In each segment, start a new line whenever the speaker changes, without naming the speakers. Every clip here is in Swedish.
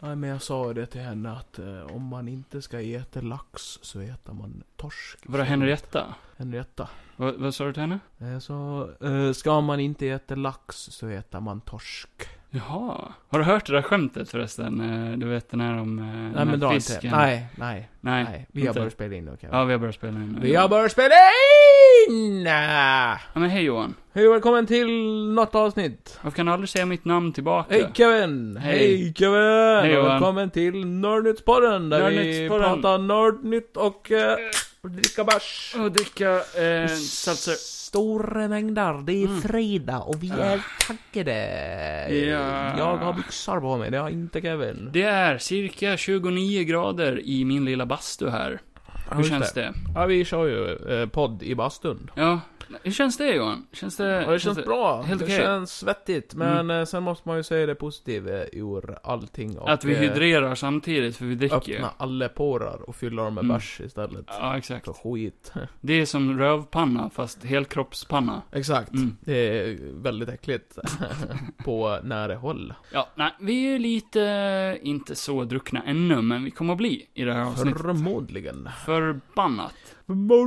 Nej, men jag sa ju det till henne att eh, om man inte ska äta lax så äter man torsk.
Vadå Henrietta?
Henrietta.
Vad, vad sa du till henne?
Eh, så, eh, ska man inte äta lax så äter man torsk.
Mm, Jaha. Har du hört det där skämtet förresten? Eh, Du vet den här om eh, den
Nej,
här
men dra
fisken?
inte. Nej, nej,
Nej.
nej. Vi har
inte.
börjat spela in nu, Kevin.
Ja, vi har börjat spela nu.
Vi har börjat spela in!
Ja, men hej Johan.
Hej och välkommen till något avsnitt.
Varför kan du aldrig säga mitt namn tillbaka?
Hej Kevin!
Hej.
Hej Kevin!
Hej,
och
Johan.
välkommen till Nördnyttspodden där vi
Nördnyttspodden.
pratar nördnytt och eh, dricka bärs.
Och dricka eh, salser.
Stora mängder. Det
Mm.
är fredag och vi är taggade.
Ah. Ja.
Jag har byxor på mig, det har inte Kevin.
Det är cirka 29 grader i min lilla bastu här.
Ja,
Hur
just
känns det?
Ja, vi kör ju eh, podd i bastun.
Ja. Hur känns det Johan? Känns det...
Ja, det känns bra.
Eh, helt
det
okej. Mm.
känns svettigt. Men eh, sen måste man ju säga det positiva eh, ur allting. Och,
Att vi
eh,
hydrerar samtidigt, för vi dricker ju.
Öppna alla porar och fylla dem med
Mm.
bärs istället.
Ja, exakt.
För skit.
Det är som rövpanna, fast helkroppspanna.
Exakt.
Mm.
Det är väldigt äckligt. på nära håll.
Ja, nej, vi är ju lite, eh, inte så druckna ännu, men vi kommer att bli i det här avsnittet.
Förmodligen.
Förbannat.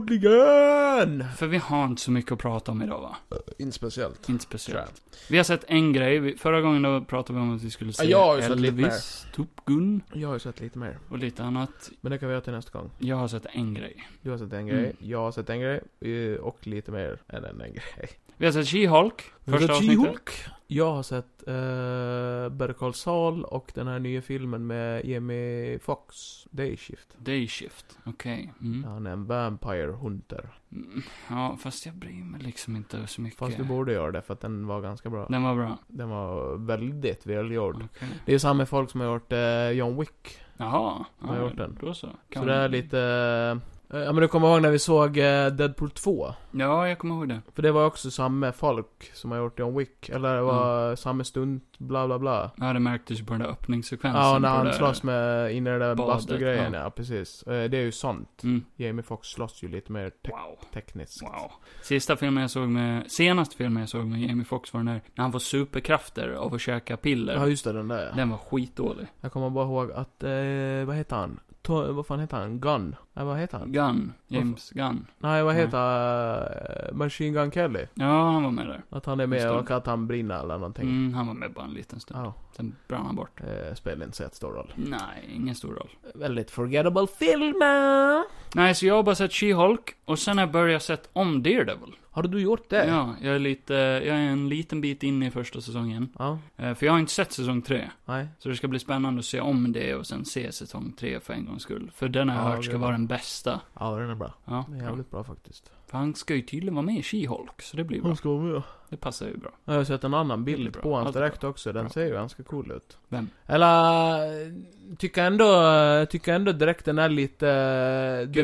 Förmodligen!
För vi har inte så mycket att prata om idag, va?
Inte speciellt.
Inte
Tror jag.
speciellt. Vi har sett en grej, vi, förra gången då pratade vi om att vi skulle se
jag har ju sett lite
Elvis, Top Gun
Jag har ju sett lite mer.
och lite annat.
Men det kan vi göra till nästa gång.
Jag har sett en grej.
Du har sett en grej,
Mm.
jag har sett en grej, eh, och lite mer än en grej.
Vi har sett She-Hulk, första avsnittet.
Jag har sett uh, Better Call Saul och den här nya filmen med Jamie Fox Day Shift.
Day Shift, okej. Mm.
Han är en Vampire Hunter.
Mm. Ja, fast jag bryr mig liksom inte så mycket.
Fast du borde göra det för att den var ganska bra.
Den var bra.
Den var väldigt välgjord.
Okej.
Det är samma folk som har gjort eh, John Wick.
Jaha.
Jag har gjort den.
Då så. Kan
Så det är lite... eh, ja men du kommer ihåg när vi såg eh, Deadpool 2?
Ja, jag kommer ihåg det.
För det var också samma folk som har gjort John Wick. Eller det var
Mm.
samma stund, bla bla bla.
Ja, det märktes ju på den där öppningssekvensen.
Ja,
på
när han
det där-
slåss med, inne i den där
Badet,
bastugrejen, ja. precis. Eh, Det är ju sånt.
Mm.
Jamie Foxx slåss ju lite mer te-
Wow.
tekniskt.
Wow. Sista filmen jag såg med, senaste filmen jag såg med Jamie Foxx var den där, när han får superkrafter av att käka piller.
Ja, just det, den där.
Den var skitdålig.
Jag kommer bara ihåg att, eh, vad heter han? To- vad fan heter han? Gun? Nej, vad heter han?
Gun. James Gun.
Nej, vad
Nej.
heter eh, Machine Gun Kelly?
Ja, han var med där.
Att han är
Just
med
det.
och att han brinner eller någonting.
Mm, han var med bara en liten stund.
Ja,
Sen brann han bort.
eh, spelar inte så jättestor roll.
Nej, ingen stor roll.
Väldigt forgettable eh. filmer!
Nej, så jag har bara sett She-Hulk och sen har jag börjat sett om Daredevil.
Har du gjort det?
Ja, jag är lite, jag är en liten bit in i första säsongen.
Ja,
Eh, För jag har inte sett säsong tre.
nej.
Så det ska bli spännande att se om det och sen se säsong tre för en gångs skull. För den har jag
Ja,
hört ska
det-
vara den bästa.
Ja, den är bra.
Ja,
Den är jävligt bra faktiskt.
För han ska ju tydligen vara med i She-Hulk, så det blir bra.
Hon ska vara med.
Det passar ju bra.
Ja, Jag har sett en annan
Det blir
bild
bra.
på honom
Allt är
direkt också. Den
Bra.
ser ju ganska cool ut.
Vem?
Eller, tycker ändå, tycker ändå direkt den är lite... Den,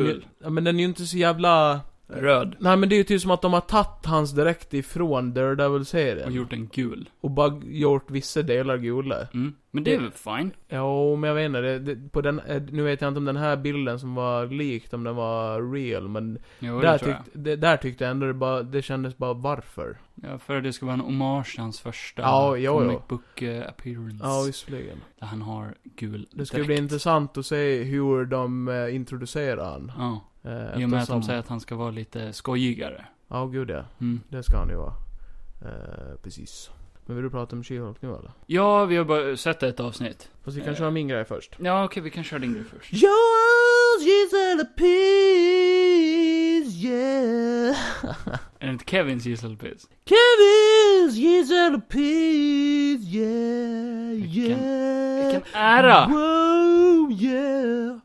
är-
Gul.
ja, men den är ju inte så jävla...
Röd.
Nej men det är ju typ som att de har tagit hans direkt ifrån Daredevil-serien.
Och gjort en gul.
och bara gjort vissa delar gula.
Mm. Men det är väl fine?
Jo, men jag vet inte. Det, det, på den, eh, nu vet jag inte om den här bilden som var likt, om den var real, men...
Jo, det
där,
tror jag.
tyckte, det, där tyckte jag ändå det bara, det kändes bara varför.
Ja, för det ska vara en hommage till hans första
Ja, jo, jo.
comic book eh, appearance.
Ja, visserligen.
Där han har gul
Det ska
dräkt.
bli intressant att se hur de eh, introducerar han.
Ja,
Eh,
i och med att de
eftersom-
säger att han ska vara lite skojigare.
Ja, gud ja.
Mm.
Det ska han ju vara. Eh, precis. Men vill du prata om She-Hulk nu eller?
Ja, vi har bara sett ett avsnitt.
Fast vi kan
Eh.
köra min grej först.
Ja, okej, vi kan köra din grej först.
Joel, she's at peace, yeah.
Är det inte Kevins Gisselpiss?
Kevin's, she's at peace, yeah,
Vilken-
yeah.
Vilken ära!
Wow, yeah.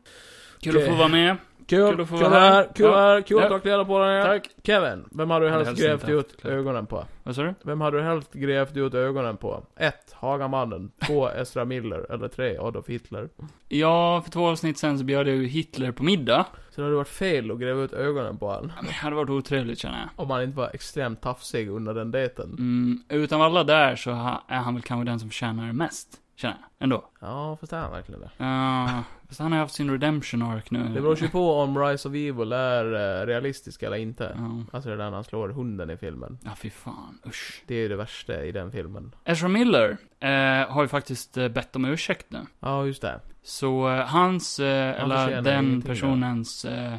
Kul att få
Okej.
vara med.
Kul,
Kul att få
kul att
vara här.
här, kul
Ja.
här, kul att
Ja.
du har kläder på dig.
Tack.
Kevin, vem hade du
Jag hade
helst
helst
grävt
inte haft
ut
kläder.
ögonen på?
Vad sa du?
Vem hade du helst grävt ut ögonen på? 1. Hagamannen. 2. Ezra Miller. Eller 3. Adolf Hitler.
Ja, för två avsnitt sen så bjöd jag ju Hitler på middag.
Så det hade varit fel att gräva ut ögonen på han.
Ja, men Det hade varit otrevligt känner jag.
Om han inte var extremt tafsig under den dejten.
Mm, utav alla där så ha, är han väl kanske den som tjänar mest. känner jag. Ändå.
Ja, fast är han verkligen det?
Uh, fast han har haft sin redemption arc nu.
Det beror ju på om Rise of Evil är eh, realistisk eller inte.
Ja.
Alltså det där när han slår hunden i filmen.
Ja, fy fan. Usch.
Det är ju det värsta i den filmen.
Ezra Miller eh, har ju faktiskt eh, bett om ursäkt nu.
Ja, just det.
Så eh, hans, eh,
Han
eller
förtjänar
den
ingenting,
personens, eh, eh,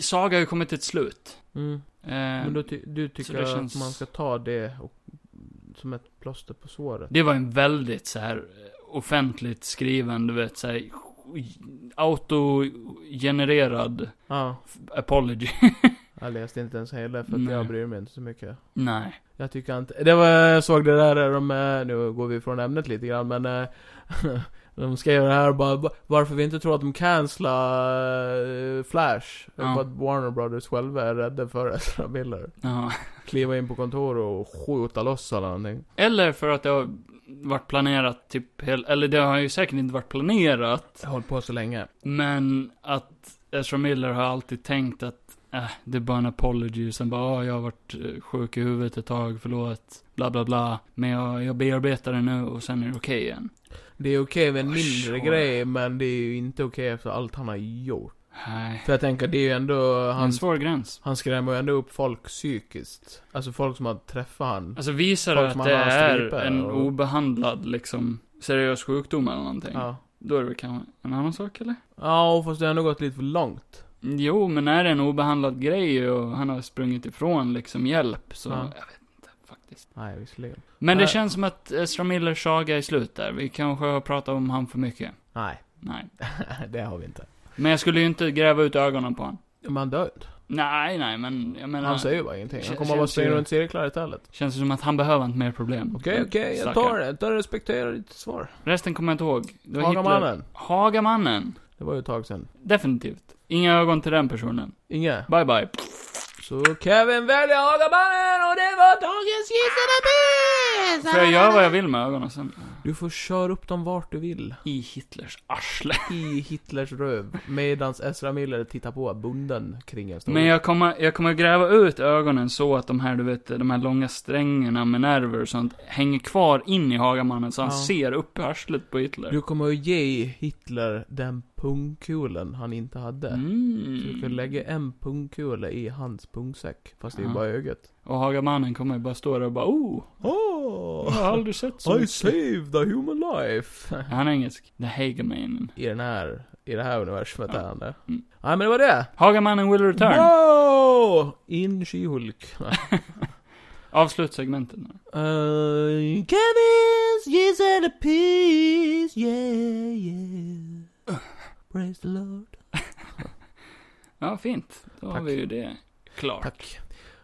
saga har ju kommit till ett slut.
Mm.
Eh,
Men då ty- du tycker
det känns-
att man ska ta det och, som ett plåster på såret?
Det var en väldigt så här eh, offentligt skriven, du vet så här sk- autogenererad
Ja,
f- apology.
jag läste inte ens hela för att
Nej.
jag bryr mig inte så mycket.
Nej.
Jag tycker inte... Det var, jag såg det där, de, eh, nu går vi från ämnet lite grann men... eh, De skrev det här bara, "Va- varför vi inte tror att de cancelar eh, Flash.
Ja.
För att Warner Brothers själva är rädda för Ezra Miller.
Ja.
Kliva in på kontor och skjuta loss eller någonting.
Eller för att det har varit planerat typ, hel- eller det har ju säkert inte varit planerat,
Jag har hållit på så länge.
men att Ezra Miller har alltid tänkt att äh, det är bara en apology, sen bara ah, jag har varit eh, sjuk i huvudet ett tag, förlåt, bla bla bla, men jag, jag bearbetar det nu och sen är det okej igen.
Det är okej med en
Oh,
mindre
sure.
grej men det är ju inte okej efter allt han har gjort.
Nej.
För jag tänker det är ju ändå,
Det är en
han,
svår gräns.
han skrämmer ju ändå upp folk psykiskt. Alltså folk som har träffat han.
Alltså visar
Folk
det
som
att
har
det
några
är
strypar
en
och-
obehandlad liksom seriös sjukdom eller någonting.
Ja.
Då är det väl kanske en annan sak eller?
Ja, fast det har ändå gått lite för långt.
Jo, men är det en obehandlad grej och han har sprungit ifrån liksom hjälp så
Ja.
jag vet inte faktiskt.
Nej, visserligen.
Men det
Nej.
känns som att Ezra Millers saga är slut där. Vi kanske har pratat om han för mycket.
Nej,
Nej.
det har vi inte.
Men jag skulle ju inte gräva ut ögonen på honom.
Men han dör inte.
Nej, nej, men jag menar.
Han säger ju bara ingenting. Han
Kän-
kommer bara
känns
springa
ju-
runt i cirklar istället.
Känns det som att han behöver inte mer problem.
Okej, okej, jag
Stackare.
tar det. Jag respekterar ditt svar.
Resten kommer jag inte ihåg. Det var Hitler.
Hagamannen.
Hagamannen.
Det var ju ett tag sedan.
Definitivt. Inga ögon till den personen.
Inga.
Bye bye.
Så Kevin väljer Hagamannen och det var dagens gissarapis!
Får jag göra vad jag vill med ögonen sen?
Du får köra upp dem vart du vill.
I Hitlers arsle.
I Hitlers röv. Medans Ezra Miller tittar på bunden kring en stol.
Men jag kommer, jag kommer gräva ut ögonen så att de här, du vet, de här långa strängerna med nerver och sånt hänger kvar in i Hagamannen så han
Ja.
ser upp i arslet på Hitler.
Du kommer att ge Hitler den pungkulen han inte hade. Så du
Mm.
kan lägga en pungkula i hans pungsäck. Fast det är
Ja.
bara ögat.
Och Hagamannen kommer bara stå där och bara oh, jag
Oh,
har aldrig sett så mycket."
saved a human life.
Han är engelsk. The Hagamannen.
I den här, i det här universumet är han det.
Mm.
Nej men det var det.
Hagamannen will return.
Wow! In She-Hulk.
Avslut segmentet nu.
uh, Kevin's yes and a peace, yeah, yeah. Praise the Lord.
Ja, fint. Då har
Tack.
vi ju det klart.
Tack.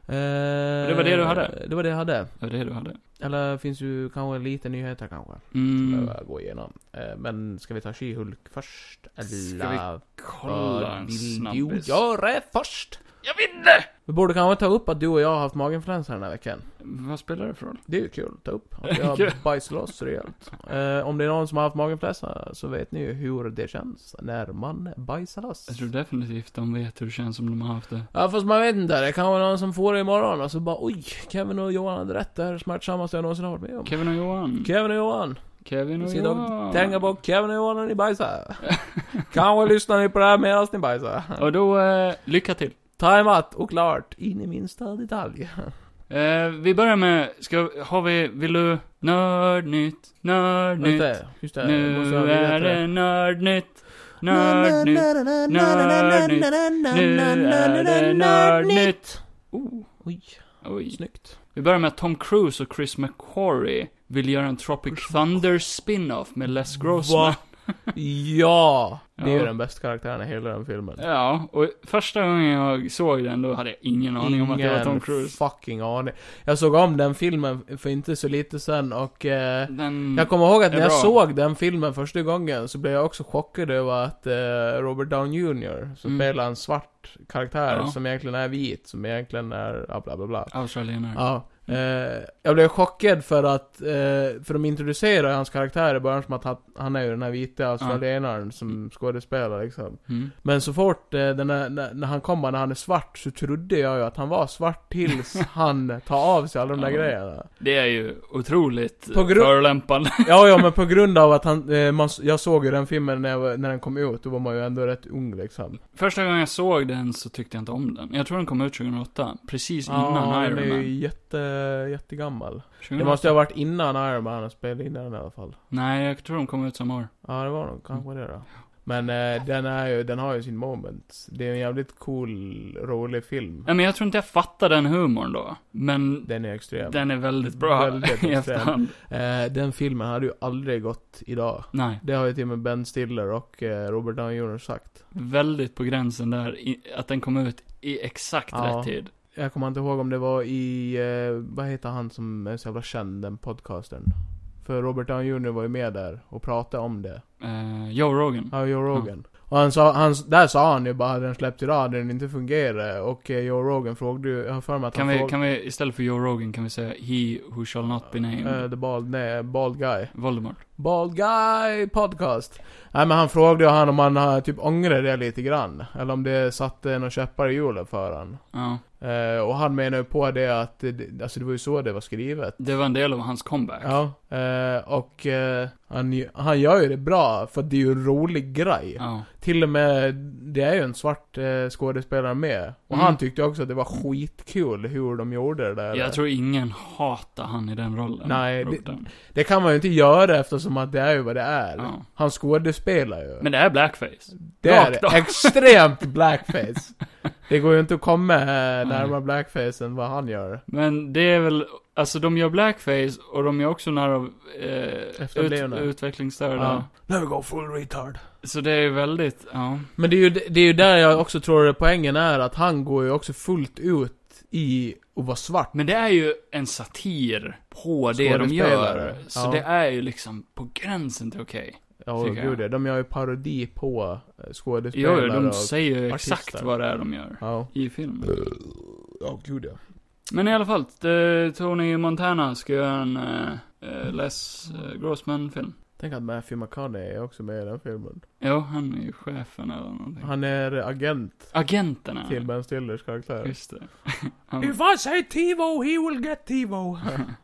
Eh,
det var det du hade?
Det var det jag hade.
Det var det du hade.
Eller finns ju kanske lite nyheter kanske.
Mm.
Mm. Behöver gå igenom. Eh, Men ska vi ta She-Hulk först? Eller
Kolla
vad
en
vill du
snabbis.
göra först?
Jag vinner!
Vi borde kanske ta upp att du och jag har haft maginfluensa den här veckan.
Vad spelar det för roll?
Det är ju kul att ta upp. Att jag
Kul.
bajsar loss rejält. Eh, om det är någon som har haft maginfluensa så vet ni ju hur det känns när man bajsar loss.
Jag tror definitivt de vet hur det känns som de har haft det.
Ja fast man vet inte, det kan vara någon som får det imorgon och så bara oj, Kevin och Johan hade rätt, det här är det smärtsammaste jag någonsin har varit med om.
Kevin och Johan.
Kevin och Johan,
Kevin och
Sitta
Johan.
och tänka på Kevin och Johan när ni bajsar. Kanske lyssnar ni på det här medan ni bajsar.
Och då, eh, lycka till.
Timeout och klart, in i minsta detalj.
Eh, vi börjar med, ska, har vi, vill du, nördnytt,
Just
nördnytt.
det, just det.
Nu
Måste jag veta
är det nördnytt, nördnytt. nördnytt. Nu är det nördnytt. Oh,
Oj,
oj.
snyggt.
Vi börjar med att Tom Cruise och Chris McQuarrie vill göra en Tropic Thunder spin-off med Les Grossman.
Va? Ja! Det är ju
Ja.
den bästa karaktären i hela den filmen.
Ja, och första gången jag såg den då hade jag ingen aning om att det var Tom Cruise.
fucking aning. Jag såg om den filmen för inte så lite sen och... Eh,
Den...
jag kommer ihåg att
Mm. det
när
är
jag
bra.
såg den filmen första gången så blev jag också chockad över att eh, Robert Downey Jr. som
Mm.
spelar en svart karaktär
Ja.
som egentligen är vit, som egentligen är... Ja, bla bla bla.
Australienare.
Ja. Eh, jag blev chockad för att, eh, för de introducerar hans karaktär i början som att han, han är ju den här vita australienaren som skådespelare liksom.
Mm.
Men så fort eh, den här, när, när han kommer, när han är svart, så trodde jag ju att han var svart tills han tar av sig alla de där
Ja.
grejerna.
Det är ju otroligt
På
På
grund-
förolämpande.
Ja, ja men på grund av att han, eh, man, s- jag såg ju den filmen när, jag, var- när den kom ut, då var man ju ändå rätt ung liksom.
Första gången jag såg den så tyckte jag inte om den. Jag tror den kom ut 2008. Precis
ja,
innan
den är
Iron
ju
Man. Mm.
jätte, jättegammal. Det
2008.
måste ju ha varit innan Iron Man spelade in den i alla fall.
Nej, jag tror de kom ut samma år.
Ja, det var nog kanske det då. Men eh, den, är ju, den har ju sin moment. Det är en jävligt cool, rolig film.
Nej, men jag tror inte jag fattade den humorn då. Men
Den är extrem. Den,
den är väldigt bra
Väldigt
i
extrem.
efterhand.
eh, den filmen hade ju aldrig gått idag.
Nej,
Det har ju till och med Ben Stiller och eh, Robert Downey Jr sagt.
väldigt på gränsen där. I, att den kom ut i exakt
Ja.
rätt tid.
Jag kommer inte ihåg om det var i, eh, vad heter han som är så jävla känd, den podcastern? För Robert Downey Jr var ju med där och pratade om det.
Eh, Joe Rogan.
Ja, Joe Rogan. Och han sa, han, där sa han ju bara, hade den släppt idag hade den inte fungerat. Och eh, Joe Rogan frågade ju, jag har för mig att
Kan
han
vi,
frågade...
kan vi, istället för Joe Rogan kan vi säga He Who Shall Not Be Named.
Eh, the bald, nej, bald guy.
Voldemort.
Bald guy podcast. Nej men han frågade ju han om han har typ ångrar det lite grann. Eller om det satte någon käppar i hjulet för han.
Ja.
Eh, och han menar ju på det att, eh, det- alltså det var ju så det var skrivet.
Det var en del av hans comeback.
Ja. Eh, och eh, han, ju- han gör ju det bra, för det är ju en rolig grej.
Ja.
Till och med, det är ju en svart eh, skådespelare med. Och
Mm.
han tyckte också att det var skitkul hur de gjorde det där.
Jag tror ingen hatar han i den rollen.
Nej, det-
Roberten.
Det kan man ju inte göra eftersom att det är ju vad det är.
Ja.
Han skådespelar ju.
Men det är blackface.
Det är
Rakt
det.
av.
Extremt blackface. Det går ju inte att komma eh, närmare
Nej.
blackface än vad han gör.
Men det är väl, alltså de gör blackface och de gör också nära eh, ut,
Efterblivna.
utvecklingsstörda.
Ja. Now we go full retard.
Så det är ju väldigt, ja.
Men det är ju, det är ju där jag också tror poängen är att han går ju också fullt ut i att vara svart.
Men det är ju en satir på det de
Skådespelare.
gör. Så
Ja.
det är ju liksom på gränsen till okej.
Ja, oh,
tycker jag.
gud ja. De gör ju parodi på eh,
Jo,
skådespelare
jo, de
och...
säger ju
artister.
exakt vad det är de gör.
Ja.
I filmen.
Ja, gud ja.
Men i alla fall, eh, Tony Montana ska göra en eh, eh, Les eh, Grossman-film.
Tänk att Matthew McConaughey är också med i den filmen.
Jo, han är ju chefen eller någonting.
Han är agent
Agenterna.
till Ben Stillers karaktär.
Just det. Han-
I say TiVo, he will get TiVo.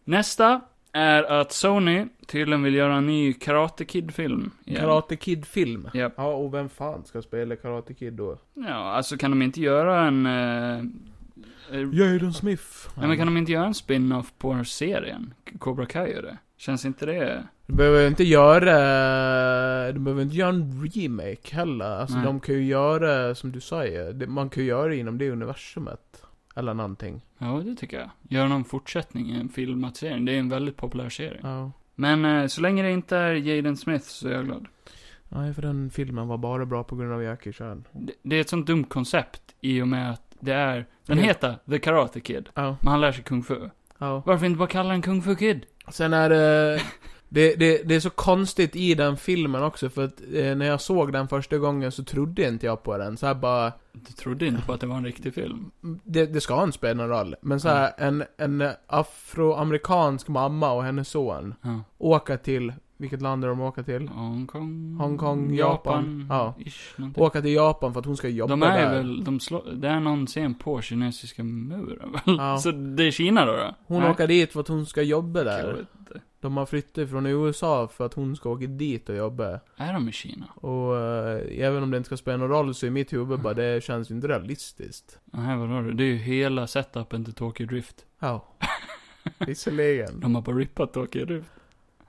Nästa är att Sony tydligen vill göra en ny Karate Kid-film. igen.
Karate Kid-film.
Japp.
Ja, och vem fan ska spela Karate Kid då?
Ja, alltså kan de inte göra en... Eh, eh,
Jaden Smith.
Nej men kan de inte göra en spin-off på serien? K- Cobra Kai gör det. Känns inte det...
Du behöver ju inte göra... Du behöver inte göra en remake heller. Alltså
Nej.
de kan ju göra som du säger. Det- Man kan ju göra det inom det universumet. Eller någonting.
Ja, det tycker jag. Gör någon fortsättning i en filmat serie. Det är en väldigt populär serie.
Ja.
Men eh, så länge det inte är Jaden Smith så är jag glad.
Nej, för den filmen var bara bra på grund av Jackie Chan.
Det, det är ett sånt dumt koncept i och med att det är... Den
Helt-
heter The Karate Kid.
Ja,
Men han lär sig Kung Fu.
ja.
Varför inte bara kalla den Kung Fu Kid?
Sen är det... Det, det, det är så konstigt i den filmen också, för att eh, när jag såg den första gången så trodde inte jag på den. Så här bara...
Du trodde inte på att det var en riktig film?
det, det ska inte spela någon roll. Men så här, en, en afroamerikansk mamma och hennes son
Ja.
åker till, vilket land är de åker till?
Hongkong...
Hongkong, Japan. Ja.
Ish, någonting.
Åker till Japan för att hon ska jobba
de är
där.
väl, de slår, det är någon scen på kinesiska muren väl?
Ja.
Så det är Kina då? då?
Hon
Nej.
åker dit för att hon ska jobba
Jag
där.
vet inte.
De har flyttat från USA för att hon ska åka dit och jobba.
Är de i Kina?
Och eh, även om det inte ska spela någon roll så i mitt huvud
Mm.
bara, det känns ju inte realistiskt.
Nej, vadå då? Det är ju hela setupen till Tokyo Drift.
Ja. Visserligen.
De har bara rippat Tokyo Drift.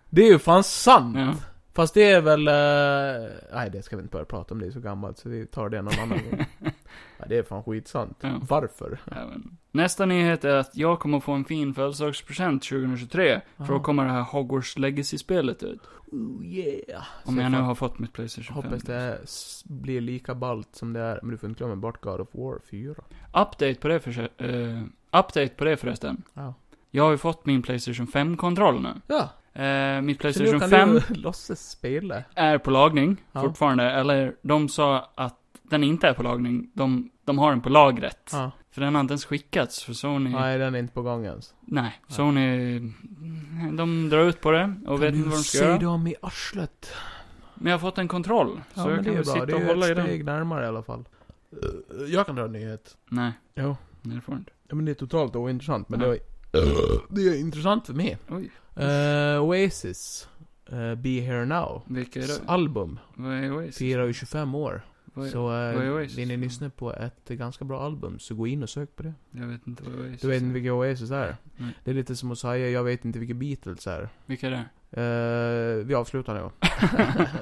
Det är ju fan sant!
Ja.
Fast det är väl... eh, nej, det ska vi inte börja prata om, det är så gammalt så vi tar det någon annan gång. Ja, det är fan skitsant.
Ja.
Varför?
Ja, men. Nästa nyhet är att jag kommer få en fin födelsedagspresent 2023. För
Aha.
då kommer det här Hogwarts Legacy-spelet ut.
Oh yeah!
Om
Så
jag nu
fan-
har fått mitt Playstation 5.
Hoppas det är- s- blir lika ballt som det är, men du får inte glömma bort God of War 4.
Update på det för, eh, Update på det förresten.
Ja.
Jag har ju fått min Playstation 5-kontroll nu.
Ja,
Eh, mitt
så nu
Playstation Mm.
kan
5
du låtsas spela.
är på lagning
Ja.
fortfarande. Eller de sa att den inte är på lagning. De, de har den på lagret.
Ja.
För den har inte ens skickats, för Sony...
Nej, den är inte på gång ens.
Nej, Sony... De drar ut på det och vet inte vad de ska
Se
göra.
dem i arslet.
Men jag har fått en kontroll.
Ja,
så
men
jag
det
kan
är
väl
bra. Det
sitta och
är ju
hålla i
ett
den.
steg närmare i alla fall. Eh, Jag kan dra en nyhet.
Nej,
Jo.
nej det får du inte.
Ja, men det är totalt ointressant, men
Ja.
det, var, Eh, det är intressant för mig.
Oj,
Eh, Oasis, eh, Be Here Now.
vilka är det?
Album
Vad är Oasis?
firar ju 25 år.
Vad är-
Så eh,
vad är Oasis?
vill ni lyssna på ett ganska bra album, så gå in och sök på det.
Jag vet inte vad Oasis
Du vet inte vilka Oasis är?
Nej.
Det är lite som att säga, jag vet inte vilka Beatles är.
Vilka är det?
Eh, vi avslutar nu.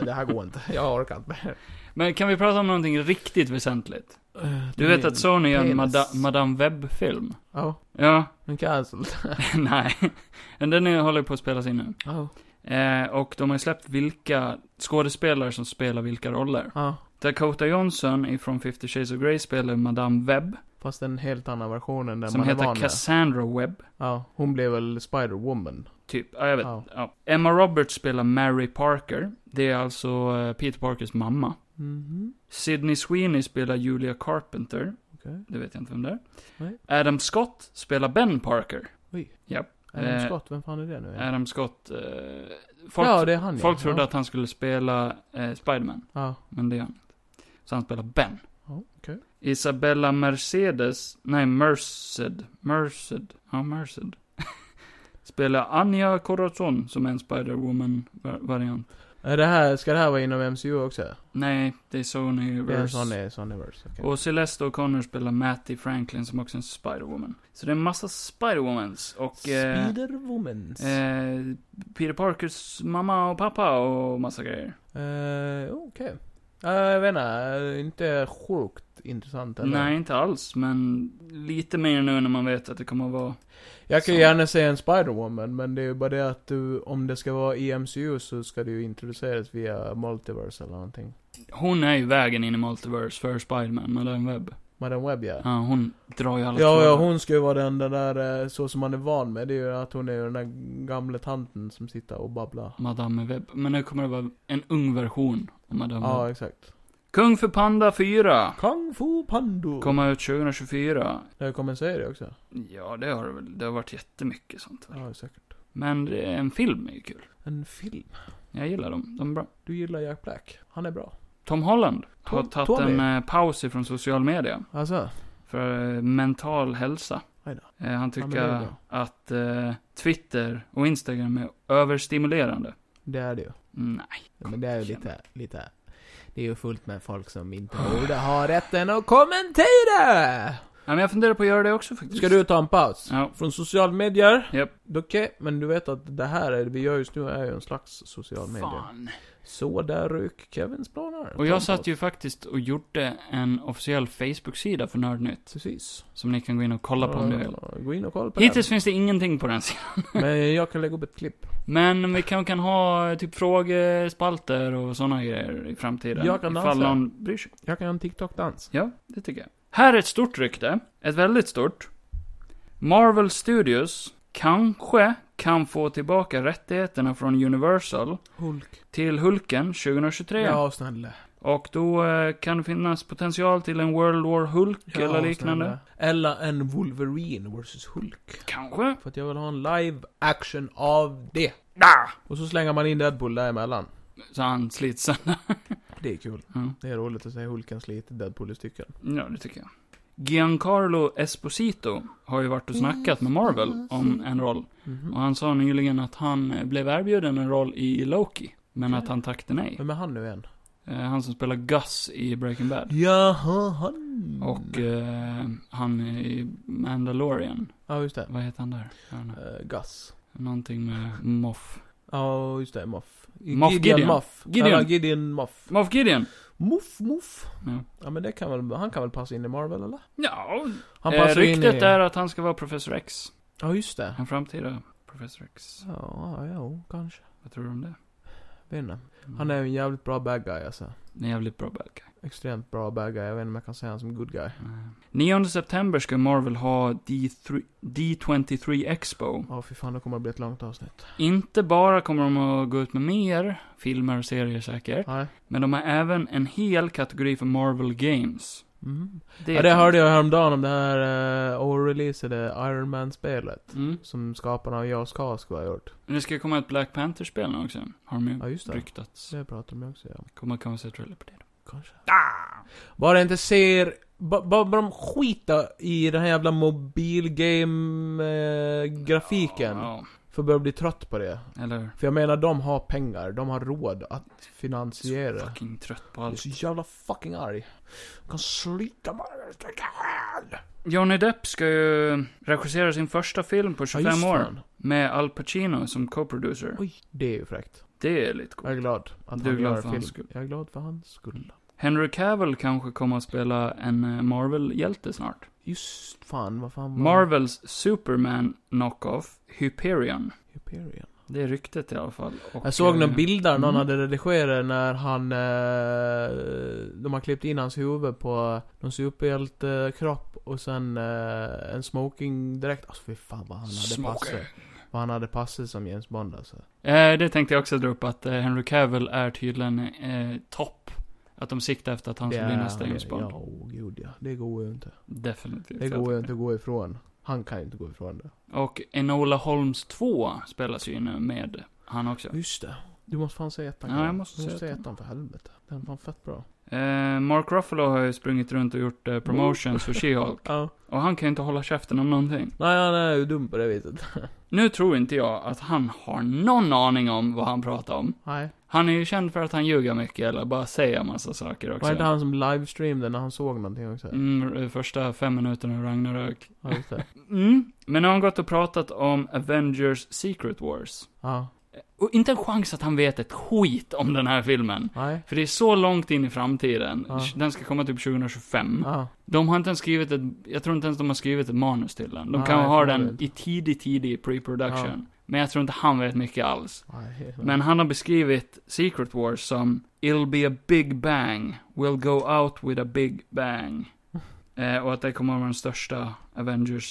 det här går inte. Jag orkar inte mer.
Men kan vi prata om någonting riktigt väsentligt?
Eh,
Du vet att Sony gör en
Mm. penis.
Mada, Madame Webb-film?
Ja,
Ja,
den cancelled.
nej. Men den är, håller på att spelas in nu.
Ja.
Eh, och de har släppt vilka skådespelare som spelar vilka roller.
Ja.
Dakota Johnson ifrån 50 Shades of Grey spelar Madame Webb,
Fast en helt annan version än den
som
man är
heter
van vid.
Cassandra Webb.
Ja, hon blev väl Spider-Woman.
Typ, ja, jag vet.
Ja.
Ja. Emma Roberts spelar Mary Parker. Det är alltså eh, Peter Parkers mamma.
Mhm.
Sydney Sweeney spelar Julia Carpenter.
Okej.
Det vet jag inte vem det är.
Nej.
Adam Scott spelar Ben Parker.
Adam
Eh,
Scott, vem fan är det nu igen?
Adam Scott... Eh, folk
ja, det är han
folk
ja.
trodde
ja.
att han skulle spela eh, Spiderman,
Ja,
men det gör han inte. Så han spelar Ben.
ja okej.
Isabella Mercedes, nej Merced, Merced, ja Merced. spelar Anja Corazon som är en Spider-Woman-variant.
Är Eh, Det här, ska det här vara inom MCU också?
Nej, det är Sony
Det är en
Verse.
sån är Sonyverse, okej.
Och Celeste O'Connor spelar Matty Franklin som också är en Spider-Woman. Så det är en massa Spider-Womans och... eh,
Spider-Womans. Eh,
Eh, Peter Parkers mamma och pappa och massa grejer.
okej. Eh, jag vet inte, eh, inte sjukt intressant eller?
Nej, inte alls, men lite mer nu när man vet att det kommer att vara...
Jag kan
Så.
ju gärna säga en Spider-Woman, men det är ju bara det att du, om det ska vara i MCU så ska det ju introduceras via Multiverse eller någonting.
Hon är ju vägen in i Multiverse för Spiderman, Madame Webb.
Madame Webb ja.
Ja, hon drar ju alla
Ja, ja,
trådar.
hon ska ju vara den, den där, eh, så som man är van med. Det är ju att hon är ju den där gamla tanten som sitter och babblar.
Madame Webb. Men nu kommer det vara en ung version av Madame
Ja,
Webb.
exakt.
Kung för Panda 4!
Kung Fu Pando!
Kommer ut 2024.
Det kommer en serie också.
Ja, det har det väl. Det har varit jättemycket sånt. väl.
Ja, säkert.
Men det- en film är ju kul.
En film.
Jag gillar dem. De är bra.
Du gillar Jack Black. Han är bra.
Tom Holland har
Tom-
tagit
Tommy.
en eh, paus ifrån social media.
Alltså?
för eh, mental hälsa.
Aj
Eh, han
men det är
tycker
bra.
att eh, Twitter och Instagram är överstimulerande.
Det är det ju.
Nej.
Ja, Men det är ju
Kom
lite, lite... Det är ju fullt med folk som inte borde ha rätten att kommentera!
Ja, men jag funderar på att göra det också faktiskt.
Ska du ta en paus?
Ja.
Från social medier?
Japp.
Okej, men du vet att det här är, vi gör just nu är ju en slags social media.
Fan.
Så där rök Kevins planer.
Och jag satt ju faktiskt och gjorde en officiell Facebook-sida för Nördnytt.
Precis.
Som ni kan gå in och kolla på om ni vill.
Ja, Gå in och kolla på
Hittills finns det ingenting på den sidan.
den. Men jag kan lägga upp ett klipp.
Men vi kan, kan ha eh, typ frågespalter och sådana grejer i framtiden.
Jag kan
Ifall
dansa.
någon bryr sig.
Jag kan göra en TikTok-dans.
Ja, det tycker jag. Här är ett stort rykte. Ett väldigt stort. Marvel Studios kanske kan få tillbaka rättigheterna från Universal
Hulk.
till Hulken 2023.
Ja, snälla.
Och då eh, kan det finnas potential till en World War Hulk
Ja,
eller liknande.
snälla. Eller en Wolverine vs Hulk.
Kanske.
För att jag vill ha en live action av det.
Ah!
Och så slänger man in Deadpool däremellan.
Så han slits sönder.
Det är kul.
Ja.
Det är roligt att se Hulken sliter Deadpool i stycken.
ja, det tycker jag. Giancarlo Esposito har ju varit och snackat med Marvel om en roll.
Mhm.
Och han sa nyligen att han eh, blev erbjuden en roll i Loki. Men att han tackade nej.
Vem är han nu igen?
Eh, Han som spelar Gus i Breaking Bad.
Jaha, han.
Och eh, han i Mandalorian.
Ja, just det.
Vad heter han där? Jag vet inte.
Eh, Gus.
Någonting med Moff.
Ja, just det. Moff.
Moff Gideon.
Moff.
Gideon.
Eller Gideon Moff.
Moff Gideon!
Moff, Moff.
Ja.
Ja, men det kan väl, han kan väl passa in i Marvel, eller?
Ja,
Han
eh,
passar ju in i...
ryktet är att han ska vara Professor X.
Ja, just det.
En framtida Professor X.
Ja, ja, kanske.
Vad tror du om det?
Vet inte.
Mm.
Han är ju en jävligt bra bad guy, alltså.
en jävligt bra bad guy.
Extremt bra bad guy. Jag vet inte om jag kan säga honom som good guy.
Eh, 9 september ska Marvel ha D3, D23 Expo.
Ja, fy fan, det kommer att bli ett långt avsnitt.
Inte bara kommer de att gå ut med mer filmer och serier säkert.
Nej.
Men de har även en hel kategori för Marvel Games.
Mhm. Ja, det hörde jag häromdagen om det här uh, oreleasade Iron Man-spelet.
Mm.
Som skaparna av Jas Kask har gjort.
Men det ska komma ett Black Panther-spel nu också. Har de ju
Ja, just det.
ryktats.
Det pratar de också om.
Kommer kanske se trailer på det då.
Kanske. Bara inte ser... Bara ba, bara de skita i den här jävla mobilgame-grafiken.
Ja,
För jag börjar bli trött på det.
ja. eller
För jag menar, de har pengar. De har råd att finansiera det.
fucking trött på
Jag är
allt.
så jävla fucking arg. Jag kan slita mig. jag tänker själv.
Johnny Depp ska ju regissera sin första film på
Ja,
25
just
år.
fan.
Med Al Pacino som co-producer.
Oj, det är ju fräckt.
Det är lite coolt.
Jag är glad att
Du är
han
glad
gör
för hans
film.
skull.
Jag är glad för hans skull.
Henry Cavill kanske kommer att spela en eh, Marvel-hjälte snart.
Just fan, vad fan var
Marvels Superman knock-off, Hyperion.
Hyperion?
Det är ryktet i alla fall. Och,
Jag såg
eh,
några bilder någon
mm.
hade redigerat när han... Eh, de har klippt in hans huvud på någon superhjältekropp och sen eh, en smokingdräkt. Alltså fy fan vad han hade
Smoker.
passat. Vad han hade passat som James Bond alltså.
Eh, det tänkte jag också dra upp, att eh, Henry Cavill är tydligen eh, topp. Att de siktar efter att han ska bli nästa James Bond.
Ja, åh, gud ja. Det går ju inte.
Definitivt.
Det går ju inte att gå ifrån. Han kan ju inte gå ifrån det.
Och Enola Holmes 2 spelas ju nu med han också.
Just det. Du måste fan säga ettan.
Ja,
Kalle.
jag måste
du
säga
måste säga
ettan.
ettan för helvete. Den var fett bra.
Eh, Mark Ruffalo har ju sprungit runt och gjort eh, promotions för She-Hulk.
Ja.
Och han kan ju inte hålla käften om någonting.
Nej, han är ju dum på det viset.
Nu tror inte jag att han har någon aning om vad han pratar om.
Nej.
Han är ju känd för att han ljuger mycket, eller bara säger massa saker
Var inte
också.
han som livestreamade när han såg någonting också?
Mm, första fem minuterna av Ragnarök.
Ja, just det.
Mm. Men nu har han gått och pratat om Avengers Secret Wars.
Ja.
Och inte en chans att han vet ett skit om den här filmen.
Nej.
För det är så långt in i framtiden.
Ja.
Den ska komma typ 2025.
Ja.
De har inte ens skrivit ett, jag tror inte ens de har skrivit ett manus till den. De
Nej,
kan ha
förmodligen
den
inte.
i tidig, tidig pre-production. Men jag tror inte han vet mycket alls.
Nej.
Men han har beskrivit Secret Wars som It'll be a big bang. We'll go out with a big bang. Eh, och att det kommer att vara den största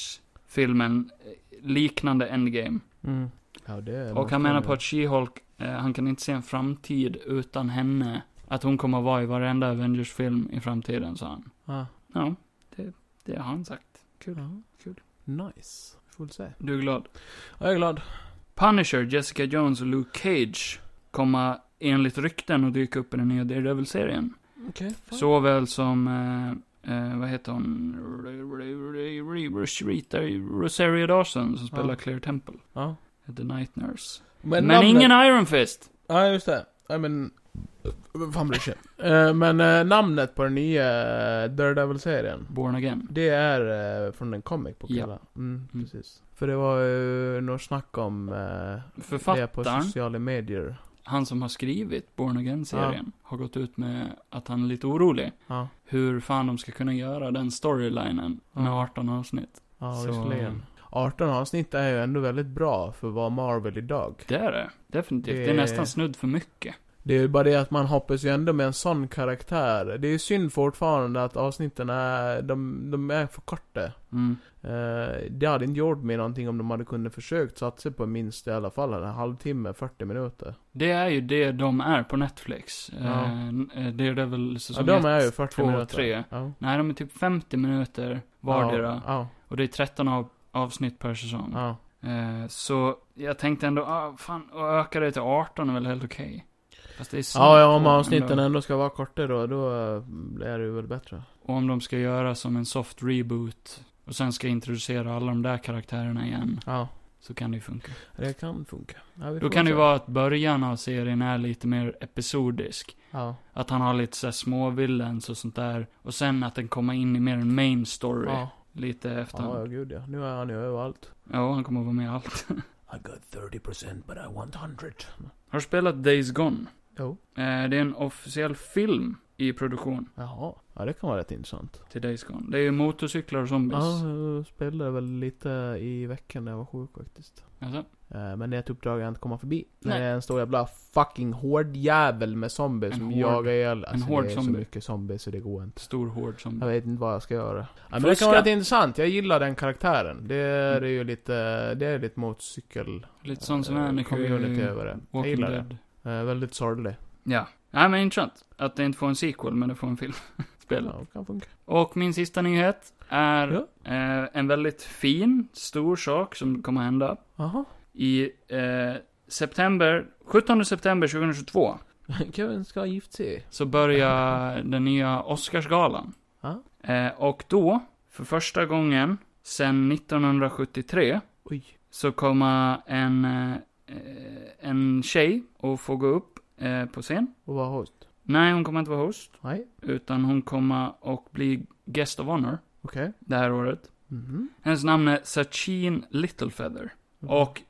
Avengers-filmen eh, liknande Endgame.
Mm. Ja, det
Och han menar på att She-Hulk, eh, han kan inte se en framtid utan henne. Att hon kommer att vara i varenda Avengers-film i framtiden, sa han.
Ja.
Ja, det, det har han sagt. Kul.
Ja.
Kul.
Nice. Får väl se.
Du är glad.
Ja, Jag är glad.
Punisher, Jessica Jones och Luke Cage kommer enligt rykten att dyka upp i den nya Daredevil-serien.
Okej.
Såväl som, eh, eh, vad heter hon? Rita Rosario Dawson som spelar
Ja.
Claire Temple.
Ja.
The Night Nurse.
Men,
Men,
namnet-
ingen Iron Fist!
Ja, just det. Nej, men... Vad fan bryr sig? Eh, Men eh, namnet på den nya eh, Daredevil-serien.
Born Again.
Det är eh, från en comic på
Ja.
Killa. Mm, precis. För det var ju något snack om eh, det på
Författaren,
sociala medier.
han som har skrivit Born Again-serien, har gått ut med att han är lite orolig.
Ja,
Hur fan de ska kunna göra den storylinen med
Ja.
18 avsnitt.
ja
Så-
visserligen. 18 avsnitt är ju ändå väldigt bra för att vara Marvel idag.
Det är det. Definitivt. Det,
Det-
är nästan snudd för mycket.
Det är ju bara det att man hoppas ju ändå med en sån karaktär. Det är ju synd fortfarande att avsnitten är, de, de är för korta.
Mm.
Eh, det hade inte gjort mig någonting om de hade kunnat försökt satsa på minst i alla fall en halvtimme, 40 minuter.
Det är ju det de är på Netflix.
Ja.
Eh, n- eh, det är det väl
Ja,
säsong
de är
ett,
ju 40
två,
minuter.
tre.
Ja.
Nej, de är typ 50 minuter vardera.
Ja, ja,
Och det är 13 av, avsnitt per säsong.
ja.
Eh, så jag tänkte ändå, ah, fan, att öka det till 18 är väl helt okej. Fast det är snabbt
Ja, ja, om
ändå.
avsnitten ändå ska vara korta då, då eh, är det ju väl bättre.
Och om de ska göra som en soft reboot. Och sen ska introducera alla de där karaktärerna igen.
Ja,
Så kan det ju funka.
det kan funka. Ja, vi
Då
får
kan det ju
se.
vara att början av serien är lite mer episodisk.
Ja,
Att han har lite såhär små villains och sånt där. Och sen att den kommer in i mer en main story.
ja.
Lite
ja, ja,
efter.
gud ja. Nu är han ju överallt.
Ja, han kommer vara med i allt.
I got 30% but I want 100.
Har du spelat Days Gone?
Jo.
Eh, det är en officiell film i produktion
Jaha. Ja, det kan vara rätt intressant.
till Days Gone. Det är ju motorcyklar och zombies.
Ja, jag spelade väl lite i veckan när jag var sjuk faktiskt.
Alltså,
Eh, Men det är ett uppdrag jag inte kommer förbi.
Nej.
Det är en stor jävla fucking hård jävel med zombies
En
som
hård-
jagar ihjäl. Alltså,
hård
det är
zombie.
så mycket zombies så det går inte.
stor hård
Jag
zombie.
vet inte vad jag ska göra. Ja, men det
Fuska.
kan vara rätt intressant. Jag gillar den karaktären. Det är
Mm.
ju lite, det är lite motorcykel...
Lite sån som
eh,
Annika i
Community över det. Jag
Walking
gillar det.
Dead.
Eh, väldigt sorglig.
Ja. Nej men intressant. Att det inte får en sequel, men det får en film. spelet.
Ja, kan funka.
Och min sista nyhet är eh, en väldigt fin, stor sak som kommer hända.
Jaha.
I eh, september, 17 september 2022,
Kevin ska ha gift sig.
så börjar den nya Oscarsgalan.
Ja.
Eh, och då, för första gången sedan 1973,
Oj.
så kommer en, eh, eh, en tjej och får gå upp eh, på scen.
Och vara host.
Nej, hon kommer inte vara host,
Nej.
utan hon kommer och bli guest of honor
Okej.
det här året.
Mhm.
Hennes namn är Sachin Littlefeather.
Mm.
Och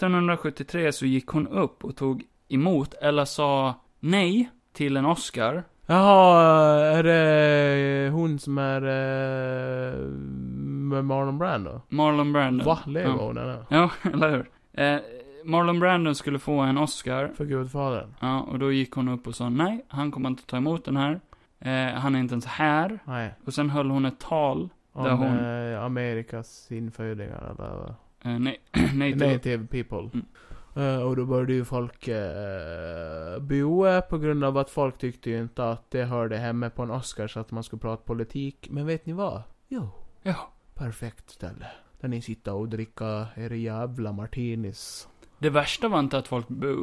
1973 så gick hon upp och tog emot, eller sa nej, till en Oscar.
Jaha, är det hon som är eh, med Marlon Brando?
Marlon Brandon.
Va? Lever
Mm. Ja.
hon ännu?
Ja, eller hur? Eh, Marlon Brandon skulle få en Oscar.
För Gudfadern?
Ja, och då gick hon upp och sa nej, han kommer inte ta emot den här. Eh, han är inte ens här.
Nej.
Och sen höll hon ett tal,
Om
Där hon-
eh, Amerikas infödingar eller
eh, nej, nej till
native people.
Mm.
Eh, och då började ju folk uh, boa på grund av att folk tyckte ju inte att det hörde hemma på en Oscars att man skulle prata politik. Men vet ni vad? Jo.
Ja.
Perfekt ställe. Där ni sitter och dricka er jävla martinis.
Det värsta var inte att folk bu...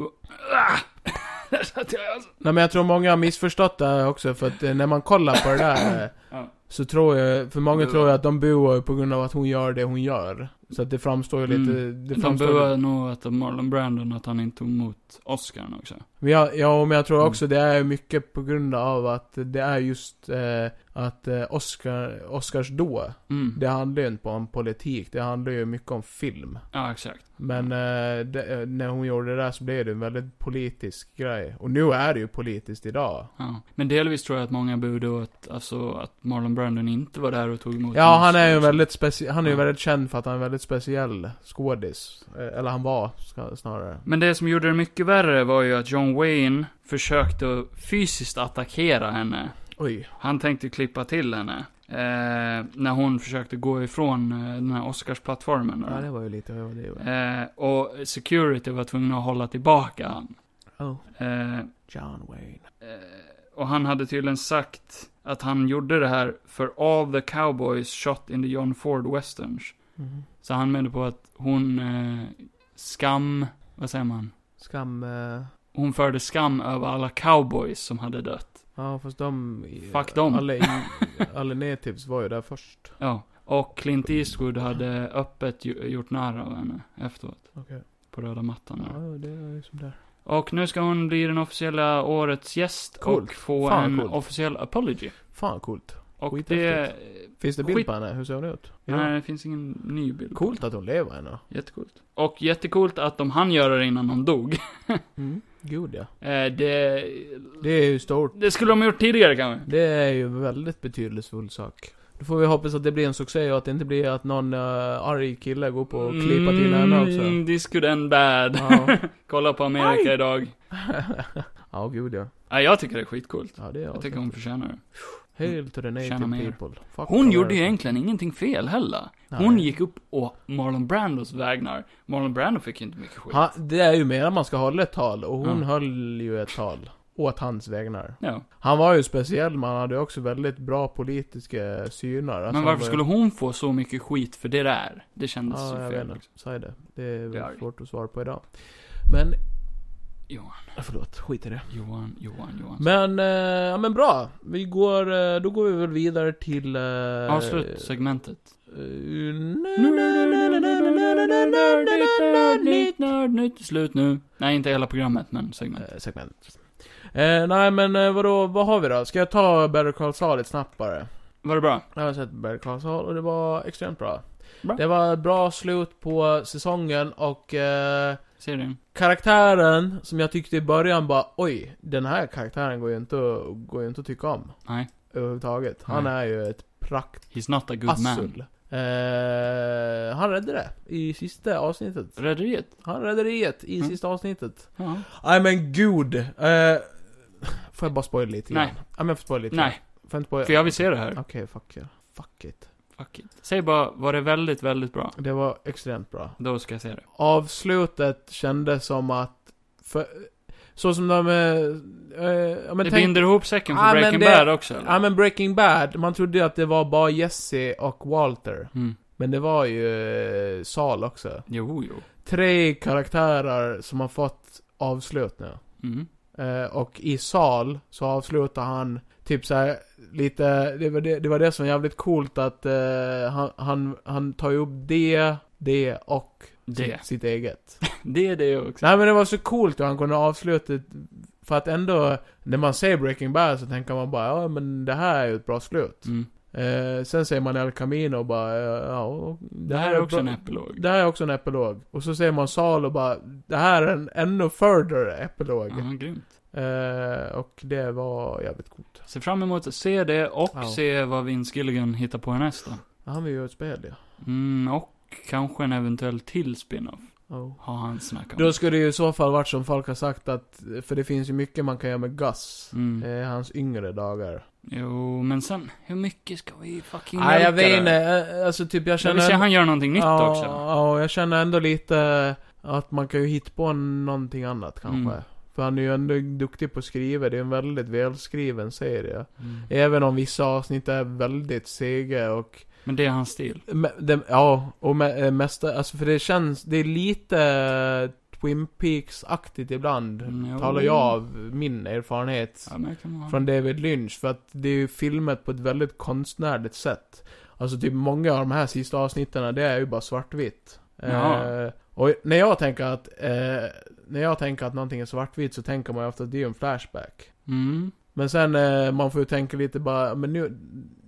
Ah! Där satt jag alltså.
Nej men jag tror många har missförstått det här också för att eh, när man kollar på det där eh,
Ja.
Så tror jag, för många
Buar.
tror ju att de buar på grund av att hon gör det hon gör. Så att det framstår ju lite, det
Mm. De
framstår
buade nog att Marlon Brandon att han inte tog emot Oscarn också.
Men jag, ja, men jag tror också det är mycket på grund av att det är just eh, att eh, Oscar, Oscars då,
Mm.
det handlar ju inte bara om politik, det handlar ju mycket om film.
Ja, exakt.
Men eh, det, eh, när hon gjorde det där så blev det en väldigt politisk grej. Och nu är det ju politiskt idag.
Ja. Men delvis tror jag att många buade åt, alltså, att Marlon Brandon inte var där och tog emot
Ja,
en
han är
Oscar
ju
också.
väldigt speci- han är ju
Ja.
väldigt känd för att han är en väldigt speciell skådis. Eh, Eller han var, ska- snarare.
Men det som gjorde det mycket värre var ju att John Wayne försökte fysiskt attackera henne.
Oj.
Han tänkte ju klippa till henne. Eh, när hon försökte gå ifrån eh, den här Oscarsplattformen. då.
Ja, det var ju lite, ja, det var
eh, och security var tvungna att hålla tillbaka han.
Oh,
Eh,
John Wayne.
Eh, och han hade tydligen sagt att han gjorde det här för all the cowboys shot in the John Ford westerns.
Mhm.
Så han menade på att hon eh, skam, vad säger man?
Skam... eh,
Hon förde skam över alla cowboys som hade dött.
Ja, fast de...
Fuck dem.
Alla, alla natives var ju där först.
Ja. Och Clint Eastwood hade öppet ju, gjort nära av henne efteråt.
Okej.
På röda mattan
Ja,
där.
det är ju som där.
Och nu ska hon bli den officiella årets gäst
Coolt.
och få
Fan,
en
coolt.
officiell apology.
Fan coolt.
Och det...
Skithäftigt. Finns det bild
Skit-
på henne? Hur ser hon ut?
Nej, det finns ingen ny bild. på
Coolt att hon lever ännu.
Jättecoolt. Och jättecoolt att de hann göra det innan de dog.
Mm. Gud ja.
Eh, det,
Det är ju stort.
det skulle de ha gjort tidigare kanske.
Det är ju en väldigt betydelsefull sak. Då får vi hoppas att det blir en succé och att det inte blir att någon eh, arg kille går på och klippa till henne också.
Mm, this could end bad.
Ja.
Kolla på Amerika idag.
ja, gud ja.
Nej, jag tycker det är skitcoolt.
Ja, det är
Jag tycker hon förtjänar det.
Hail to the
Tjäna mer.
native people. Fuck
Hon gjorde ju
America.
egentligen ingenting fel heller. Hon
Nej.
gick upp å Marlon Brandos vägnar. Marlon Brando fick ju inte mycket skit.
Ha, det är ju mer man ska hålla ett tal, och hon
Ja.
höll ju ett tal. Åt hans vägnar.
Ja.
Han var ju speciell, men han hade ju också väldigt bra politiska synar. Alltså,
Men
han
varför
var ju-
skulle hon få så mycket skit för det där? Det kändes
Ja,
så
jag
fel. liksom.
vet inte. Säg det. Det är
Det är arg.
väl svårt att svara på idag. Men,
Johan,
förlåt, skit i det.
Johan, Johan, Johan.
Men, eh, ja men bra. Vi går, eh, då går vi väl vidare till... Eh,
Avslut segmentet.
eh, nej, nej, nej, nej, nej, nej, nej, nej, nej, nej, nej, nej,
Nördigt,
nej.
nördigt, Slut nu. Nej, inte hela programmet, men segment.
Eh, Segment. Eh, nej men eh, vadå, vad har vi då? Ska jag ta Better Call Saul lite snabbt bara?
Var det bra?
Jag har sett Better Call Saul och det var extremt bra.
Bra.
Det var ett bra slut på säsongen och eh,
Serien?
karaktären som jag tyckte i början bara oj, den här karaktären går ju inte, att- går ju inte att tycka om.
Nej.
Överhuvudtaget. Han
Nej.
är ju ett prakt
He's not a good man.
Assul. Eh, han räddade det i sista avsnittet.
Rederiet?
Han räddade det i
Mm.
sista avsnittet.
Ja.
Nej men gud! Eh, får jag bara spoila lite
Nej.
grann? Nej. men jag får spoila lite
Nej,
grann. Får jag inte spoila?
för jag vill se det här.
Okej, fuck yeah. Fuck it.
Fuck it. Säg bara, var det väldigt, väldigt bra?
Det var extremt bra.
Då ska jag se det.
Avslutet kändes som att... För, Så som de... Eh, eh, ja, men
det
tänk-
binder ihop säcken för
Ja, men
Breaking
det-
Bad också. eller?
Ja men Breaking Bad, man trodde ju att det var bara Jesse och Walter.
Mm.
Men det var ju eh, Sal också.
Jo, jo.
Tre karaktärer som har fått avslut nu.
Mm.
Eh, och i Sal så avslutar han typ så här lite, det var det, det var det som var jävligt coolt att eh, han, han, han tar ju upp det, det och
Det.
Sitt, sitt eget.
Det är det också.
Nej men det var så coolt hur han kunde avsluta det, för att ändå, när man ser Breaking Bad så tänker man bara ja men det här är ju ett bra slut.
Mm.
Eh, sen ser man El Camino och bara eh, ja, och
Det här är också
bra-
en epilog.
Det här är också en epilog. Och så ser man Sal och bara, det här är en ännu further epilog.
Ja, grymt.
Eh, och det var jävligt coolt.
Ser fram emot att se det och
Ja.
se vad Vince Gilligan hittar på nästa.
Han vill ju göra ett spel ja.
Mm, och kanske en eventuell till spin-off.
Oh.
Har han snackat om.
Då skulle det ju i så fall varit som folk har sagt att, för det finns ju mycket man kan göra med Gus.
Mm.
Eh, hans yngre dagar.
Jo, men sen, hur mycket ska vi fucking
Nej jag
mjölka
vet
där?
inte, Eh, alltså typ jag
Jag vill
känner...
se han gör någonting nytt
ja,
också.
Ja, jag känner ändå lite att man kan ju hitta på någonting annat kanske.
Mm.
För han är ju ändå duktig på att skriva, det är en väldigt välskriven serie. Även om vissa avsnitt är väldigt sega och
Men det är hans stil.
Me- det- ja, och me, eh, mesta, alltså för det känns, det är lite eh, Twin Peaks-aktigt ibland.
Mm, jo.
Talar jag av min erfarenhet
Ja, men jag kan vara...
från David Lynch. För att det är ju filmat på ett väldigt konstnärligt sätt. Alltså typ många av de här sista avsnitten, det är ju bara svartvitt.
Jaha.
Eh, och när jag tänker att, eh, när jag tänker att någonting är svartvitt så tänker man ju ofta att det är ju en flashback.
Mm.
Men sen, eh, man får ju tänka lite bara, men nu,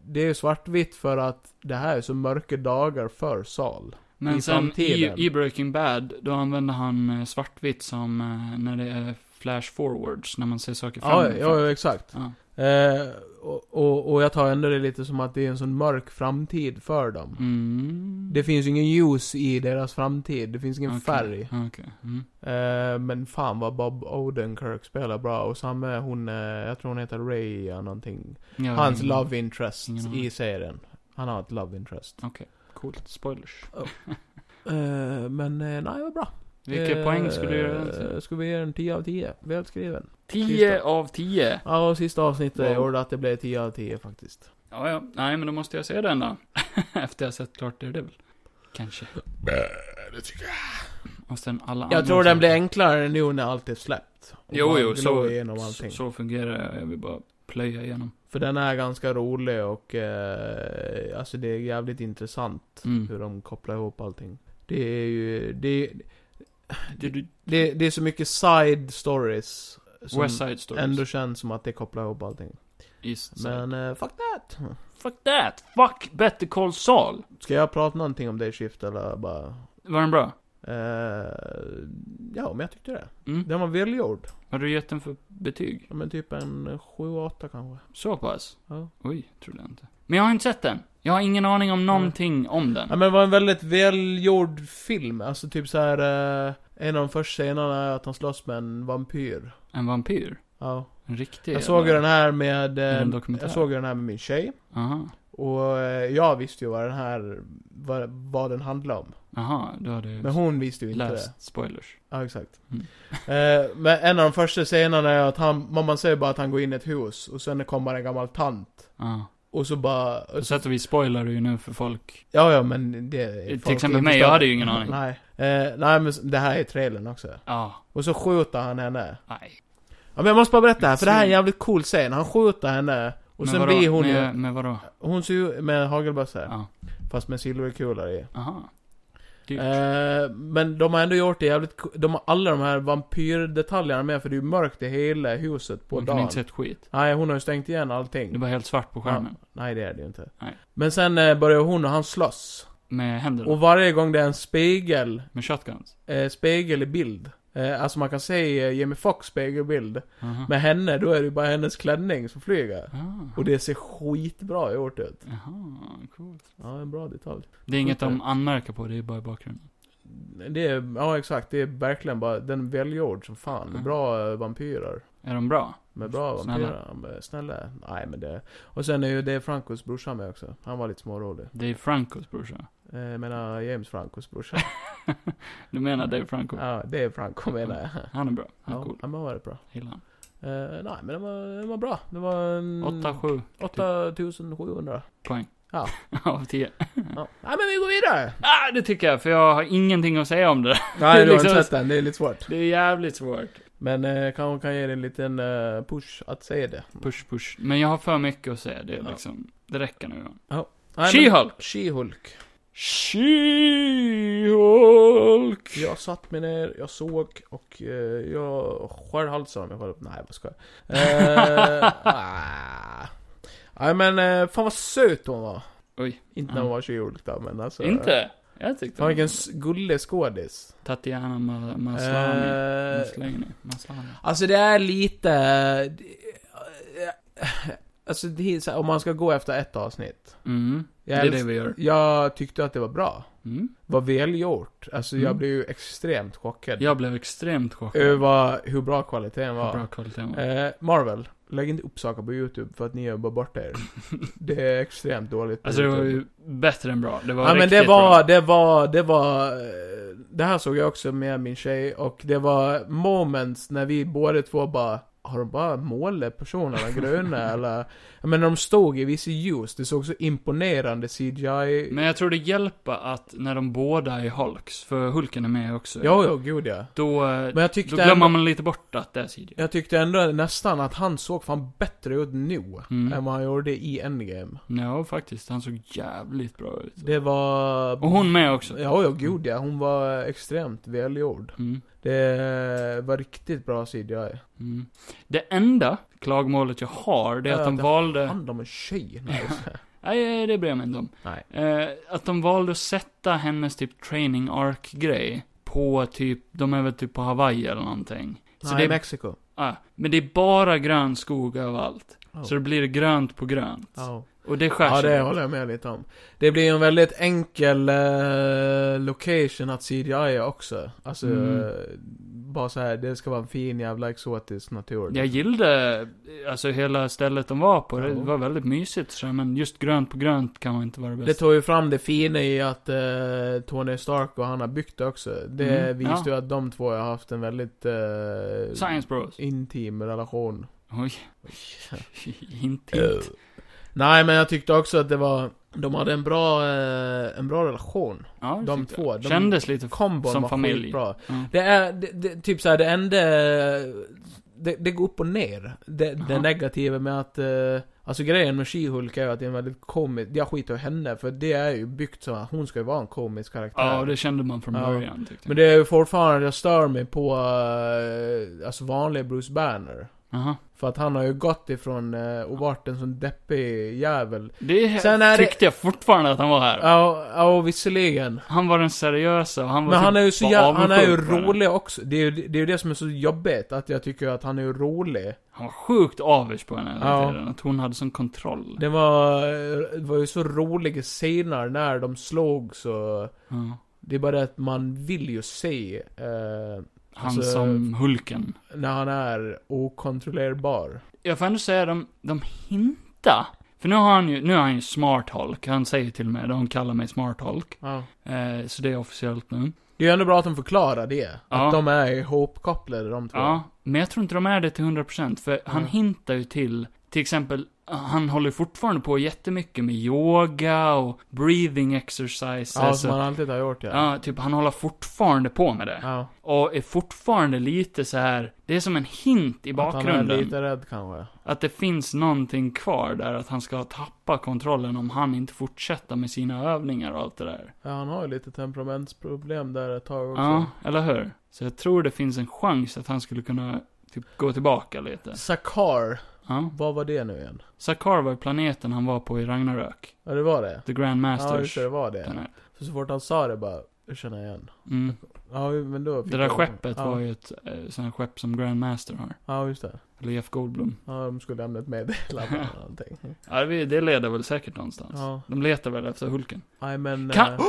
det är ju svartvitt för att det här är så mörka dagar för Sal.
Men
I
sen i,
framtiden.
i Breaking Bad, då använder han eh, svartvitt som eh, när det är flash forwards, när man ser saker
Ja,
framifrån.
ja, ja, exakt.
Ja.
Eh, och, och, och jag tar ändå det lite som att det är en sån mörk framtid för dem.
Mm.
Det finns ju ingen ljus i deras framtid, det finns ingen
Okej.
färg.
Ja, Okej. Mm.
Eh, men fan vad Bob Odenkirk spelar bra. Och samma hon, eh, jag tror hon heter Ray eller någonting.
Ja, mm.
Hans
ja.
love interest
Ingen aning.
i serien. Han har ett love interest.
Coolt. Spoilers.
Eh, men eh, nej, vad bra.
Vilka
Eh,
poäng skulle du göra?
Skulle vi ge den 10 av 10? Välskriven.
10 av 10.
Ja, och sista avsnittet
Wow.
gjorde att det blev 10 av 10 faktiskt.
Ja, ja. Nej, men då måste jag se den då. Efter jag sett klart Daredevil. Kanske.
Det tycker jag.
Och sen alla
Jag
andra
tror den
saker.
blir enklare nu när allt är släppt. Och
Jo,
man
jo,
glor
så,
igenom
så,
allting.
så fungerar det. Jag vill bara plöja igenom.
För den är ganska rolig och eh, alltså det är jävligt intressant hur
Mm.
de kopplar ihop allting. Det är ju, det,
Du, du,
det, det är så mycket side stories. Som
West Side Stories.
ändå känns som att det kopplar ihop allting.
East Side.
Men eh, fuck that!
Fuck that! Fuck Better Call Saul!
Ska jag prata någonting om det Shift eller bara
Var den bra?
Eh, ja, men jag tyckte det.
Mm.
Den var välgjord.
Har du gett den för betyg?
Ja, Men typ en 7-8 kanske.
Så pass?
Ja.
Oj, trodde jag inte. Men jag har inte sett den. Jag har ingen aning om någonting om den.
ja, men det var en väldigt välgjord film. Alltså typ så här. eh, en av de första scenerna är att han slåss med en vampyr.
En vampyr?
Ja.
En riktig
Jag såg ju den här med... eh,
Är det en dokumentär?
jag såg ju den här med min tjej.
Aha.
Och eh, jag visste ju vad den här, vad, vad den handlade om.
Aha, då har du
Men hon visste ju inte det.
läst spoilers.
Ja, exakt.
Mm.
Eh, men en av de första scenerna är att han, man ser bara att han går in i ett hus och sen kommer en gammal tant.
Ja.
Och så bara...
På sätt och vis spoilar du ju nu för folk.
Ja, ja, men det...
Till
folk
exempel mig,
förstår.
jag hade ju ingen aning.
Nej. Eh, nej, men det här är trailern också.
Ja,
Och så skjuter han henne.
nej.
Ja, men jag måste bara berätta här, för det här är en jävligt cool scen. Han skjuter henne, och
Men
sen
vadå?
blir hon
med,
ju...
med vadå?
Hon ser ju med hagelbössa,
Ja.
fast med silverkulor i.
Aha. Dyrt.
Eh, men de har ändå gjort det jävligt co- De har alla de här vampyrdetaljerna med, för det är ju mörkt i hela huset på
Man kan
dagen.
inte se ett skit.
Nej, hon har ju stängt igen
Det är
allting.
bara helt svart på skärmen.
Nej, det är det ju inte.
Nej.
Men sen eh, börjar hon och han slåss.
Med händerna.
Och varje gång det är en spegel
Med shotguns.
eh, spegel i bild. Eh, alltså man kan se eh, Jamie Foxx spegelbild.
Aha.
Med henne, då är det ju bara hennes klänning som flyger.
Ah.
Och det ser skitbra gjort ut.
Jaha, coolt.
Ja, en bra detalj.
Det är inget de anmärker på, det är bara i bakgrunden.
Det är, ja exakt, det är verkligen bara, den är välgjord som fan.
Mm.
Bra eh, vampyrer.
Är de bra?
Med bra
Snälla.
vampyrer. Ja, men Snälla. Nej men det. Och sen är ju det Francos brorsa med också. Han var lite smårolig.
Det är Francos brorsa.
Eh, Jag menar James Francos brorsa.
Du menar Dave Franco?
ja, det är Franco menar jag.
Han är bra. Han är
Ja,
cool.
han var väldigt bra.
Gillar han.
Eh, nej, men den var, den var bra. Det var en...
8-7
8700.
poäng.
Ja.
Av 10.
Ja. Nej, men vi går vidare!
Ah, det tycker jag, för jag har ingenting att säga om det.
Nej, du har
Liksom-
inte sett den. Det är lite svårt.
Det är jävligt svårt.
Men eh, kan, kan ge dig en liten eh, push att se det.
Push, push. Men jag har för mycket att säga. Det
Ja.
är liksom, det räcker nu.
Nej, men-
She-Hulk!
She-Hulk.
She-Hulk!
Jag satt mig ner, jag såg och eh, jag skär halsen av mig själv. Nej, vad ska jag? Eh, ah. Nej men eh, fan vad söt hon var.
Oj.
Inte när
Ja.
hon var 20 då, men alltså.
Mm. Inte? Jag tyckte
Fan
hon...
vilken s- gullig skådis.
Tatiana Ma- Maslany.
Eh,
Maslany. Maslany.
alltså det är lite... Alltså det är så här, om man ska gå efter ett avsnitt.
Mm. Det
Jag,
är det
älsk-
vi gör.
jag tyckte att det var bra.
Mm.
Var välgjort. Alltså jag
Mm.
blev ju extremt chockad.
Jag blev extremt chockad.
Över hur bra kvaliteten var.
Vad bra kvaliteten var.
Eh, Marvel, lägg inte upp saker på YouTube för att ni jobbar bort er. Det är extremt dåligt. på
Alltså det var
YouTube.
ju bättre än bra. Det var
Ja men
riktigt
det var,
bra.
det var, det var... eh, Det här såg jag också med min tjej och det var moments när vi båda två bara har de bara målat personerna gröna eller? Jag menar de stod i vissa ljus, det såg så imponerande CGI...
Men jag tror det hjälper att när de båda är Hulks, för Hulken är med också.
Jo, jo, gud ja.
Då, eh,
Men jag
då
tyckte,
glömmer
ändå,
man lite bort att det är CGI.
jag tyckte ändå nästan att han såg fan bättre ut nu
Mm.
än vad han gjorde i Endgame.
Ja, faktiskt. Han såg jävligt bra ut.
Det var...
Och hon med också.
Ja, ja, gud ja. Hon var extremt välgjord.
Mm.
Det var riktigt bra CGI.
Mm. Det enda klagomålet jag har, det är
Ja,
att de
det-
valde...
Hand om en tjej. Nej.
Nej, det bryr jag mig inte om.
Nej.
Eh, att de valde att sätta hennes typ training arc-grej på typ, de är väl typ på Hawaii eller någonting. Så
Nej,
det är,
Mexiko.
ah, men det är bara grön skog överallt.
Oh.
Så det blir grönt på grönt.
Ja.
Och det skär
ja,
sig.
det håller jag med lite om. Det blir en väldigt enkel eh, location att CGI också. Alltså,
Mm.
eh, bara så här, det ska vara en fin jävla exotisk natur.
Jag gillade, eh, alltså hela stället de var på. Det
Ja.
var väldigt mysigt så, men just grönt på grönt kan man inte vara
Det
bäst.
tog ju fram det fina i att eh, Tony Stark och han har byggt det också. Det
Mm,
visste ju
ja.
att de två har haft en väldigt eh,
Science Bros.
intim relation.
Oj. Hint,
Eh,
hint.
Nej men jag tyckte också att det var, de hade en bra, eh, en bra relation.
Ja, det
de
tyckte jag.
två, de-
Kändes lite... f-
Kombon
Som
var
familj.
bra.
Ja.
Det är, det, det, typ såhär, det enda, det, det går upp och ner. Det, det
Aha.
negativa med att, eh, alltså grejen med She-Hulk är ju att det är en väldigt komisk, jag skiter i henne för det är ju byggt så att hon ska ju vara en komisk karaktär.
Ja, det kände man från
Ja.
början tyckte jag.
Men det är ju fortfarande, jag stör mig på, eh, alltså vanlig Bruce Banner.
Aha.
För att han har ju gått ifrån eh, och varit en sån deppig jävel.
Det
Sen är det-
tyckte jag fortfarande att han var här.
Ja, ja visserligen.
Han var den seriösa och han var
Men
typ
han är ju så
bara
jä- han är ju
avundsjuk på henne.
rolig också. Det är ju det, är ju det som är så jobbigt, att jag tycker att han är ju rolig.
Han var sjukt avis på henne hela
Ja.
tiden. Att hon hade sån kontroll.
Det var, det var ju så roliga scener när de slog så
Ja.
Det är bara det att man vill ju se eh,
Han
Alltså-
som Hulken.
när han är okontrollerbar.
Jag får ändå säga, de, de hintar. För nu har han ju, nu är han ju smart Hulk. Han säger till mig, de kallar mig smart Hulk.
Ja.
Eh, så det är officiellt nu.
Det är ju ändå bra att de förklarar det.
Ja.
Att de är ihopkopplade de två.
Ja, men jag tror inte de är det till 100% för han
Mm.
hintar ju till, till exempel, han håller fortfarande på jättemycket med yoga och breathing exercises.
ja
och-
som man alltid har gjort ja.
ja, typ han håller fortfarande på med det.
Ja.
Och är fortfarande lite så här. det är som en hint i
Att han är
bakgrunden.
lite rädd kanske.
Att det finns någonting kvar där, att han ska tappa kontrollen om han inte fortsätter med sina övningar och allt det där.
Ja, han har ju lite temperamentsproblem där ett tag också.
Ja, eller hur? Så jag tror det finns en chans att han skulle kunna, typ, gå tillbaka lite.
Sakar,
Ja.
vad var det nu igen?
Sakar var ju planeten han var på i Ragnarök.
Ja, det var det.
The
Ja, just
Grandmasters.
det, det var det.
planet.
För så fort han sa det bara, jag känner igen.
Mm.
Ja, men då fick
Det där
jag-
skeppet
ja.
var ju ett eh, sånt här skepp som Grandmaster har.
Ja, just det.
Eller Jeff Goldblum.
Ja, de skulle lämna ett meddelande eller någonting.
Ja, det, det leder väl säkert någonstans.
Ja.
De letar väl efter Hulken.
Nej men...
Kan-
eh,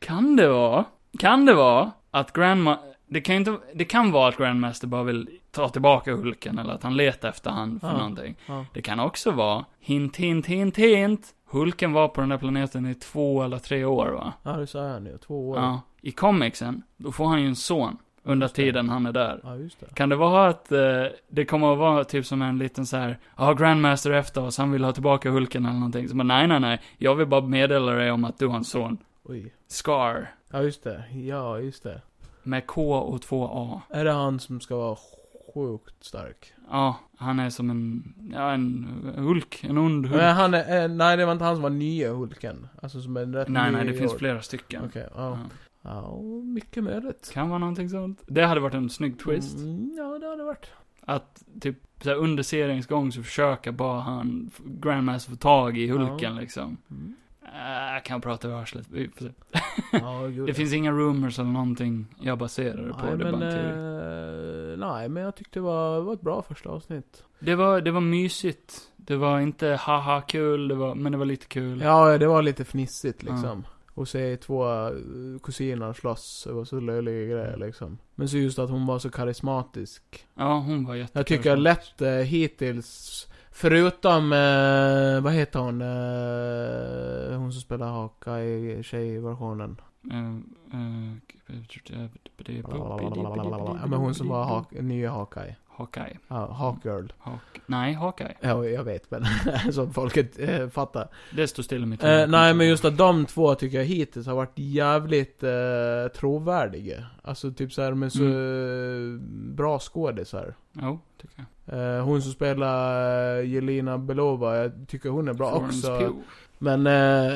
Kan det vara, kan det vara att Grandma, Det kan, ju inte, det kan vara att Grandmaster bara vill ta tillbaka Hulken eller att han letar efter han för
Ja.
någonting.
Ja.
Det kan också vara, hint, hint, hint, hint. Hulken var på den där planeten i två eller tre år va?
Ja, det sa han ju. Två år. Ja,
Ja. I comicsen, då får han ju en son under
Just det.
tiden han är där.
just det.
Kan det vara att eh, det kommer att vara typ som en liten så här, ja, Grandmaster är efter oss, han vill ha tillbaka Hulken eller någonting. Så bara, nej, nej, nej, jag vill bara meddela dig om att du har en son.
Oj.
Scar,
Ja, just det. Ja, just det.
med K och två A.
Är det han som ska vara sjukt stark?
Ja, han är som en, ja, en Hulk, en ond Hulk.
Men han är, eh, nej, det var inte han som var nya Hulken. Alltså som är rätt
nej,
ny
nej, det
i
finns
år.
flera stycken.
Okej, ja.
Ja.
Ja, mycket möjligt.
Kan vara någonting sånt. Det hade varit en snygg twist.
Mm, ja, det har det varit.
Att typ så här, under seriens gång så försöker bara han, Grandmaster, få tag i Hulken
Ja.
liksom.
Mm.
Äh, jag kan prata över arslet. Vi får se.
Ja, gud,
Det finns inga rumors eller någonting jag baserar det på.
nej,
det, är
men,
bara en teori.
eh, nej, men jag tyckte det var, var ett bra första avsnitt.
det, var, det var mysigt. Det var inte haha kul, det var, men det var lite kul.
Ja, det var lite fnissigt liksom. Och se två eh, kusiner slåss, det var så löjliga grejer liksom. Men så just att hon var så karismatisk.
Ja, hon var jättekul.
Jag tycker lätt eh, hittills, förutom, eh, vad heter hon? Eh, hon som spelar haka i tjejversionen.
Eh, eh, typ- det är-
Ja, men hon som var hak, nya haka i.
Hawkeye.
Ja, Hawkgirl.
Hawk, nej, Hawkeye.
Ja, jag vet men, som folket eh, fattar.
Det står still i mitt
Eh, nej, men just att de två tycker jag hittills har varit jävligt eh, trovärdiga. Alltså typ såhär, de är så
Mm.
eh, bra skådisar.
Jo, tycker jag.
Eh, hon som spelar eh, Jelena Belova, jag tycker hon är bra
Florence
också.
Pugh.
Men, eh,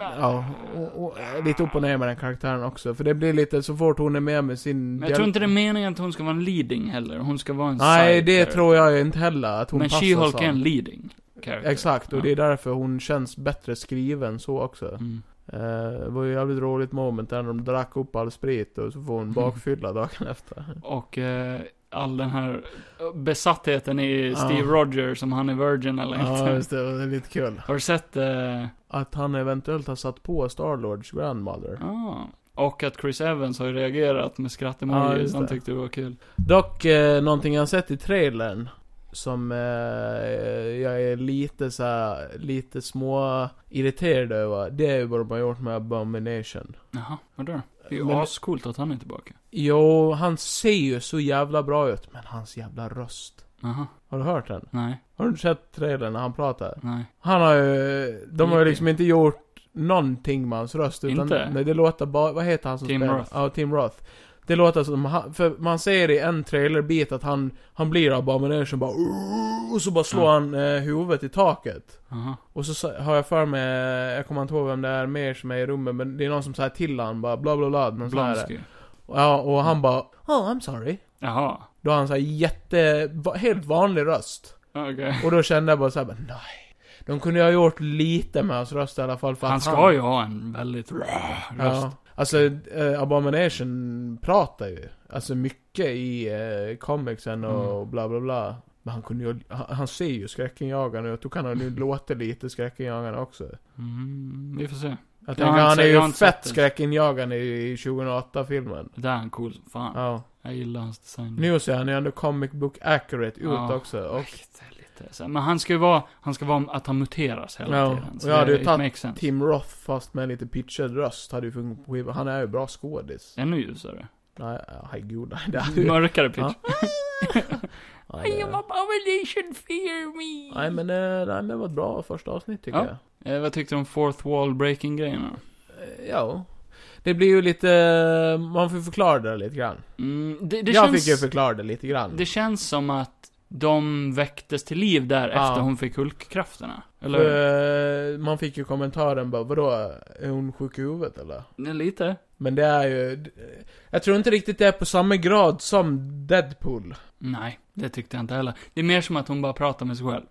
ja, och, och, eh, lite upp och ner med den karaktären också. För det blir lite, så fort hon är med med sin...
Men jag tror inte det är meningen att hon ska vara en leading heller. Hon ska vara en
Nej,
side
det
character.
tror jag inte heller, att hon
Men
passar
She-Hulk
så.
är en leading character.
Exakt, och
Ja.
det är därför hon känns bättre skriven så också.
Mm.
Eh, det var ju jävligt roligt moment där när de drack upp all sprit och så får hon bakfylla dagen efter.
Och eh, all den här eh, besattheten i
Ja.
Steve Rogers, om han är virgin eller
Ja,
inte.
just det. Det är lite kul.
Har du sett eh,
Att han eventuellt har satt på Starlords grandmother.
ja. Och att Chris Evans har ju reagerat med
Ja,
skrattemojis,
just
han
det.
tyckte det var kul.
Dock, eh, någonting jag har sett i trailern som eh, jag är lite så här, lite små irriterad över. Det är ju vad de har gjort med Abomination.
Jaha, vadå? Det är ju
Men-
ascoolt att han är tillbaka.
Jo, han ser ju så jävla bra ut, men hans jävla röst.
Jaha,
Har du hört den?
nej,
Har du inte sett trailern när han pratar?
nej.
Han har ju, de har ju liksom inte gjort någonting med hans röst. Utan,
Inte?
Nej, det låter bara, vad heter han som
Tim
spelar?
Roth.
Ja, Tim Roth. Det låter som, han- för man ser i en trailerbit att han, han blir abomination bara "Åh!" och så bara slår
Ja.
han eh, huvudet i taket.
Jaha.
Och så sa- har jag för mig, jag kommer inte ihåg vem det är mer som är i rummet, men det är någon som säger till han bara bla bla bla, någon sån här.
Blomsky.
Ja, och han bara Oh, I'm sorry.
Jaha,
Då har han såhär jätte, va- helt vanlig röst.
okej.
Och då kände jag bara såhär, men nej. De kunde ju ha gjort lite med hans röst i alla fall. För
Han
att
ska
han,
ju ha en väldigt röst.
Ja. Alltså, eh, Abomination pratar ju. Alltså mycket i eh, comicsen och
Mm.
bla bla bla. Men han kunde ju, han, han ser ju skräckinjagande ut. Då kan han ju låta lite skräckinjagande också.
Mm, vi får se.
Jag tänker,
har inte
han är
sett- jag har
ju
inte sett
fett
det.
skräckinjagande i 2008-filmen.
Det där är han cool som fan.
Ja.
Jag gillar hans design.
Nu ser han ju ändå comic book accurate ut
Ja.
också. Och
Lite, lite. så här. Men han ska ju vara, han ska vara att han muteras hela
Ja,
tiden.
och jag hade ju
it
tagit
makes sense.
Tim Roth fast med lite pitchad röst hade ju funkat. Han är ju bra skådis.
Ännu ljusare.
Nej, herregud. Nej, det hade ju...
Mörkare pitch.
Nej, det-
abomination, fear me.
Nej men, eh, nej, men det var ett bra första avsnitt tycker
Ja.
jag.
Eh, vad tyckte du om fourth wall breaking grejerna?
Eh, Ja. Det blir ju lite, eh, man får förklara det lite grann.
Mm, det, det,
jag
känns,
fick ju förklara det lite grann.
det känns som att de väcktes till liv där
Ja.
efter hon fick Hulkkrafterna. Eller hur?
För, eh, man fick ju kommentaren bara, vadå, är hon sjuk i huvudet eller?
Nej, lite.
Men det är ju, d- eh, jag tror inte riktigt det är på samma grad som Deadpool.
Nej, det tyckte jag inte heller. Det är mer som att hon bara pratar med sig själv.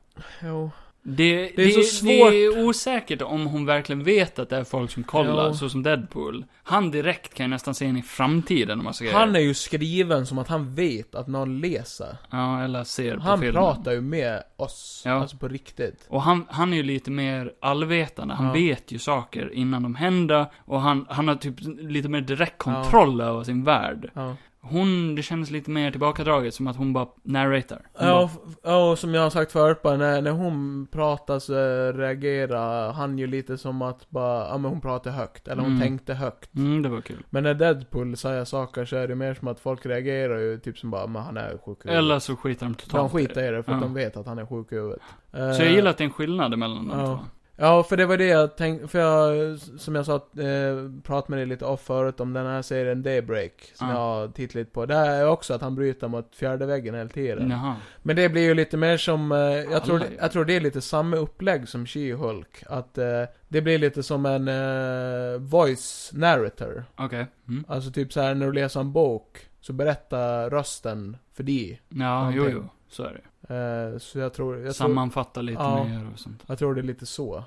Jo.
Det, det,
är så svårt.
det är osäkert om hon verkligen vet att det är folk som kollar,
Ja.
så som Deadpool. Han direkt kan ju nästan se in i framtiden om man säger
Han är ju skriven som att han vet att någon läser.
Ja, eller ser på
Han
filmen.
pratar ju med oss,
Ja.
alltså på riktigt.
Och han, han är ju lite mer allvetande. Han
Ja.
vet ju saker innan de händer. Och han, han har typ lite mer direkt kontroll över sin värld.
Ja,
Hon, det kändes lite mer tillbakadraget, som att hon bara narratar. Hon
ja, och, f- ja och som jag har sagt förut bara, när, när hon pratar så eh, reagerar han ju lite som att bara, ja men hon pratar högt, eller hon
Mm.
tänkte högt.
bara, mm, det var kul.
Men när Deadpool säger saker så är det mer som att folk reagerar ju typ som bara, men han är sjuk i huvudet."
Eller så skiter de totalt
De
i
skiter i det för att
Ja.
de vet att han är sjuk i huvudet.
det.
Eh,
Så jag gillar att det är en skillnad mellan de
Ja.
två.
Ja, för det var det jag tänkte, för jag, som jag sa, eh, pratade med dig lite off förut om den här serien Daybreak, som
Ja.
jag har tittat lite på. Där är också att han bryter mot fjärde väggen hela tiden.
Jaha.
Men det blir ju lite mer som, eh, jag, tror,
Alla gör.
jag tror det är lite samma upplägg som She-Hulk. Att eh, det blir lite som en eh, voice narrator.
Okej. Mm.
Alltså typ så här när du läser en bok, så berättar rösten för dig.
Ja, jo,
Någonting.
jo. Så är det.
Eh, så jag tror, jag tror...
Sammanfatta lite
Ja.
mer och sånt.
Jag tror det är lite så.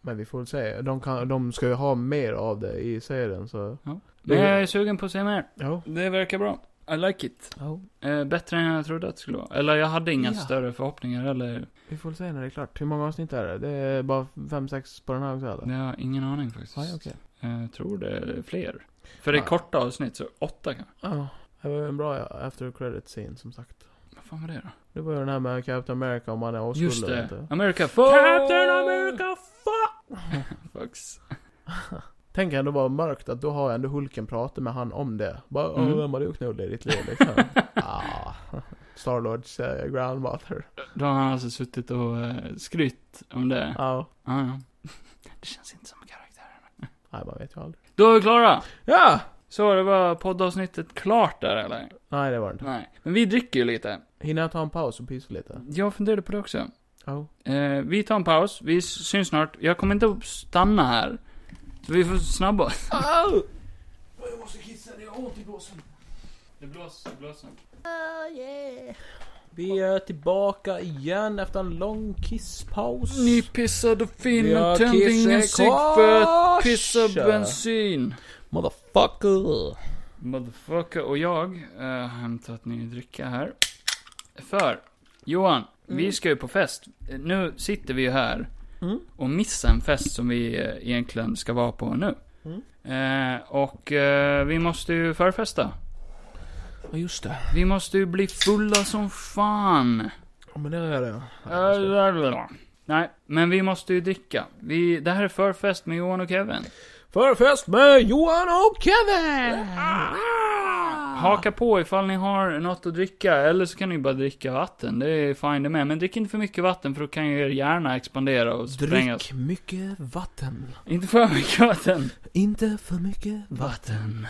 Men vi får väl se. De, kan, de ska ju ha mer av det i serien så...
Men
Det-
jag är sugen på att se mer.
Ja.
Det verkar bra. I like it.
ja.
Eh, bättre än jag trodde att det skulle vara. Eller jag hade inga
Ja.
större förhoppningar eller...
Vi får väl se när det är klart. Hur många avsnitt är det? Det är bara fem sex på den här också eller?
Jag har ingen aning faktiskt.
Nej, okej.
Eh, Jag tror det är fler. För det är
Ja.
korta avsnitt, så åtta kanske.
Ja. Det var ju en bra after credit scene som sagt.
Vad fan var det då?
Det var ju den här med Captain America om han är oskuld
Just
eller
det.
inte.
America Fuck!
Captain America fuck!
Fucks.
Tänk ändå vad mörkt att då har ändå Hulken pratat med han om det. Bara, åh
Mm.
vem har du knullat i ditt liv liksom? ah. Starlords eh, grandmother.
Då har han alltså suttit och eh, skrytt om det.
Ja.
Ja, ja. Det känns inte som karaktären.
Nej, man vet ju aldrig.
Då är vi klara!
Ja!
Så, det var poddavsnittet klart där eller?
Nej, det var det inte.
Nej. Men vi dricker ju lite.
Hinner jag ta en paus och pysa lite? Oh.
Jag funderade på det också.
Ja.
Eh, vi tar en paus, vi s- syns snart. Jag kommer inte att stanna här. Så vi får snabba oss.
Au! Jag måste kissa, det gör ont i blåsen.
Det blåser, det blåser.
Vi är tillbaka igen efter en lång kisspaus.
Nypissad och fin
Ja,
och tände
kiss
ingen
är
cigg för att
kors.
pissa bensin.
Motherfucker!
Motherfucker och jag eh, har hämtat ny dricka här. För, Johan, vi ska ju på fest. Eh, Nu sitter vi ju här
Mm.
och missar en fest som vi eh, egentligen ska vara på nu.
Mm.
Eh, och eh, vi måste ju förfesta.
Ja, just det.
Vi måste ju bli fulla som fan.
Ja, men det är det.
Eh, lalalala. Nej, men vi måste ju dricka. Vi, det här är förfest med Johan och Kevin.
Förfest med Johan och Kevin!
Ah! Haka på ifall ni har något att dricka, eller så kan ni bara dricka vatten. Det är fine det med. Men drick inte för mycket vatten för då kan ju er hjärna expandera och sprängas.
Drick mycket vatten.
Inte för mycket vatten.
Inte för mycket vatten.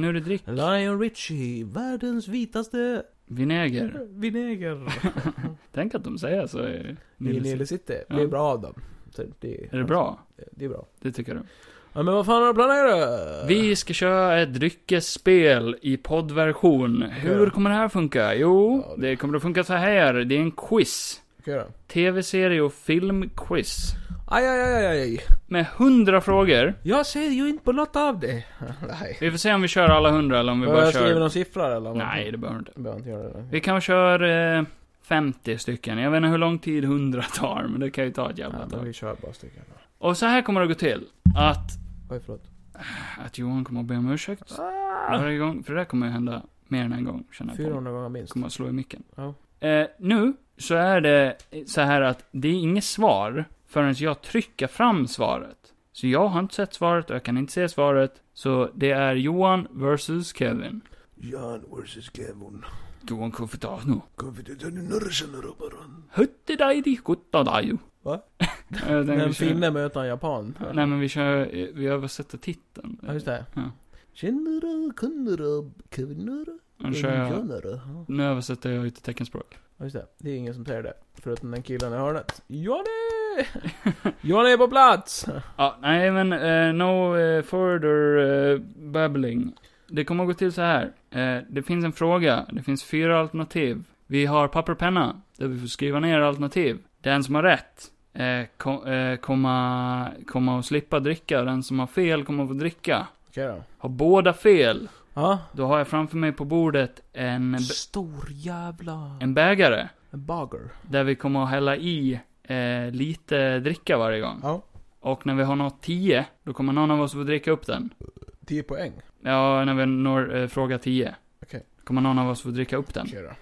Nu är det drick.
Lion Richie, världens vitaste
Vinäger.
vinäger.
Tänk att de säger så. i
I
Nils-
Nile City.
Ja.
Det är bra av dem. Så det,
Är det bra?
Det är bra.
Det tycker du?
Ja, men vad fan har du planerat?
Vi ska köra ett dryckesspel i poddversion. Hur kommer det här funka? Jo, det kommer att funka så här. Det är en quiz.
Ska jag göra?
TV-serie och filmquiz.
Aj, aj, aj, aj, aj.
Med hundra frågor.
Jag ser ju inte på något av det. Nej.
Vi får se om vi kör alla hundra eller om vi
Behöver
bara
jag skriva
kör...
någon siffra eller? vad?
Nej, det behöver vi inte.
Jag behöver inte göra det.
Vi kan köra eh, 50 stycken. Jag vet inte hur lång tid 100 tar, men det kan ju ta ett
Ja,
jävla
men
tag.
vi kör bara stycken.
Och så här kommer det att gå till. Att,
Oj, förlåt.
att Johan kommer att be om ursäkt varje gång. För det där kommer ju hända mer än en gång, känner jag på mig.
400 gånger minst.
Kommer att slå i micken.
Ja.
Eh, nu så är det så här att det är inget svar förrän jag trycker fram svaret. Så jag har inte sett svaret och jag kan inte se svaret. Så det är Johan versus Kevin.
Jan versus Kevin.
Johan Kofutano.
Kommer du till norrsen Robert?
Huttidajdi kuttadaju.
Va?
Jag tänkte vi
En
kör-
finne möter en japan.
Nej men vi kör, eh, vi översätter titeln.
Ja, just det.
Ja.
Känner du, kunde du, kvinnor,
Nu kör jag,
känner du? Ja.
nu översätter jag ju till teckenspråk.
Ja, just det. Det är ingen som säger det. Förutom den killen i hörnet. Johnny! Johnny är på plats!
Ja, nej men eh, no eh, further eh, babbling. Det kommer att gå till så här. Eh, det finns en fråga, det finns fyra alternativ. Vi har papper och penna, där vi får skriva ner alternativ. Den som har rätt eh, ko- eh, komma, komma och slippa dricka, den som har fel kommer att få dricka.
Okej då.
Har båda fel,
Ja.
då har jag framför mig på bordet en, b-
Stor jävla...
en bägare.
En bagger.
Där vi kommer att hälla i eh, lite dricka varje gång.
Ja.
Och när vi har nått 10, då kommer någon av oss få dricka upp den.
10 poäng.
Ja, när vi når eh, fråga 10.
Okej.
Kommer någon av oss få dricka upp den.
Okej då.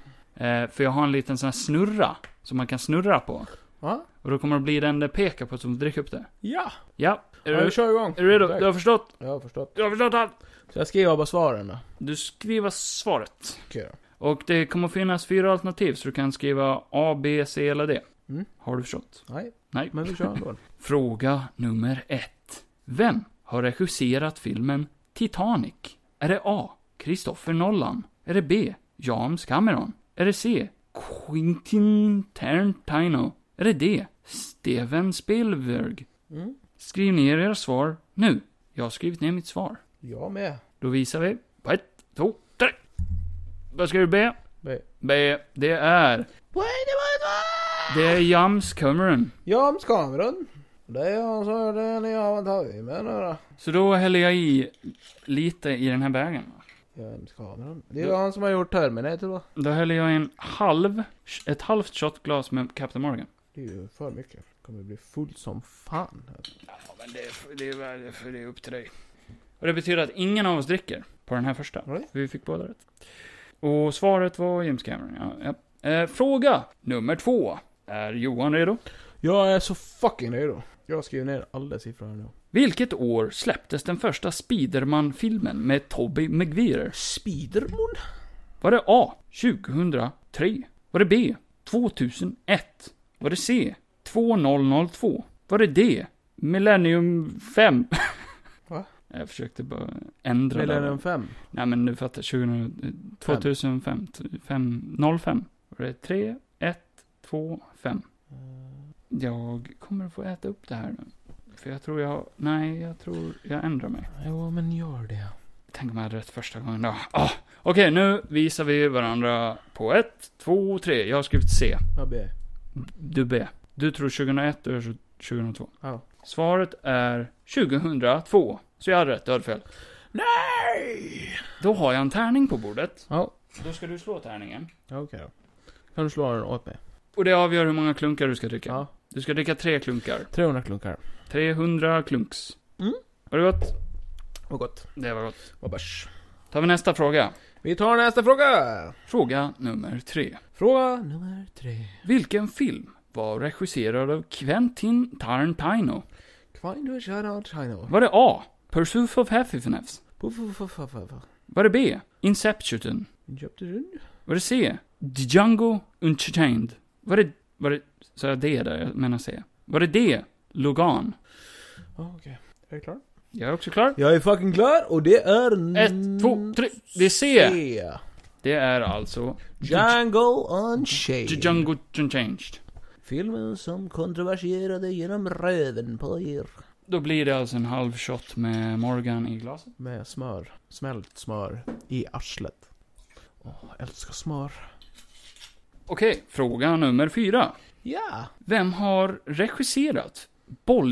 Eh, för jag har en liten sån här snurra, som man kan snurra på.
Ja.
Och då kommer det bli den det pekar på som dricker upp det.
Ja.
Ja, är
ja,
du,
vi kör igång.
är du redo?
Direkt.
Du har förstått?
Jag har förstått.
Du har förstått allt?
Så jag skriver bara svaren då.
Du skriver svaret.
Okej då.
Och det kommer finnas fyra alternativ, så du kan skriva A, B, C eller D.
Mm.
Har du förstått?
Nej.
Nej.
Men vi kör ändå.
Fråga nummer ett. Vem har regisserat filmen Titanic? Är det A. Christopher Nolan? Är det B. James Cameron? Är det C. Quentin Tarantino? Är det D. Steven Spielberg?
Mm.
Skriv ner era svar nu. Jag har skrivit ner mitt svar.
Jag med.
Då visar vi. På ett, två, tre. Vad ska du B?
B.
B. Det är... Det är James Cameron.
Jams kameran. Det är han som hörde när jag har tagit med den då.
Så då häller jag i lite i den här bägaren. va?
Jams kameran. Det är ju han som har gjort Terminator va?
Då häller jag i en halv, ett halvt shotglas med Captain Morgan.
Det är ju för mycket. Kommer bli full som fan.
Ja, men det, är- det, är, det, är, det är upp till dig. Och det betyder att ingen av oss dricker på den här första.
Nej.
Vi fick båda rätt. Och svaret var James Cameron, ja. ja. Eh, fråga nummer två. Är Johan redo?
Jag är så fucking redo. Jag skriver ner alla siffror här nu.
Vilket år släpptes den första Spiderman-filmen med Tobey Maguire?
Spiderman?
Var det A. 2003? Var det B. 2001? Var det C. 2002? Var det D. Millennium 5?
Va?
Jag försökte bara ändra
Millennium
Millennium...
5.
Nej men du fattar, 2000, 2005, 5, 05. Var det 3, 1, 2, 5?
Eh,
Jag kommer att få äta upp det här nu. För jag tror jag, nej jag tror jag ändrar mig.
Jo, men gör det.
Tänk om jag hade rätt första gången då. Ah, Okej, nu visar vi varandra på ett, två, tre. Jag har skrivit C.
Jag ber.
Du B. Du tror 2001, du tror 2002.
Ja.
Svaret är 2002. Så jag hade rätt, du hade fel.
Nej!
Då har jag en tärning på bordet.
Ja.
Då ska du slå tärningen.
Okej då. Kan du slå den åt mig?
Och det avgör hur många klunkar du ska dricka.
Ja.
Du ska dricka tre klunkar.
300 klunkar.
300 klunks.
Mm.
Var det gott?
Vad gott.
Det var gott.
Vad bärs.
Tar vi nästa fråga.
Vi tar nästa fråga!
Fråga nummer tre.
Fråga nummer tre.
Vilken film var regisserad av Quentin Tarantino?
Kvindu shoutout China.
Var det A. Pursuit of Happiness?
Puff, puff, puff, puff, puff.
Var det B. Inception?
Köpte du?
Var det C. Django Unchained? Var det... Var det... Sa jag D där? Jag menar C. Var det D. Logan?
Ja, okej. Är du klar?
Jag är också klar.
Jag är fucking klar och det är...
Ett, två, tre. Det är C.
C.
Det är alltså...
Django
D-
Unchained.
Django Unchanged.
Filmen som kontroversierade genom röven på er.
Då blir det alltså en halv shot med Morgan i glaset.
Med smör. Smält smör. I arslet. Åh, älskar smör.
Okej, fråga nummer fyra.
Ja!
Vem har regisserat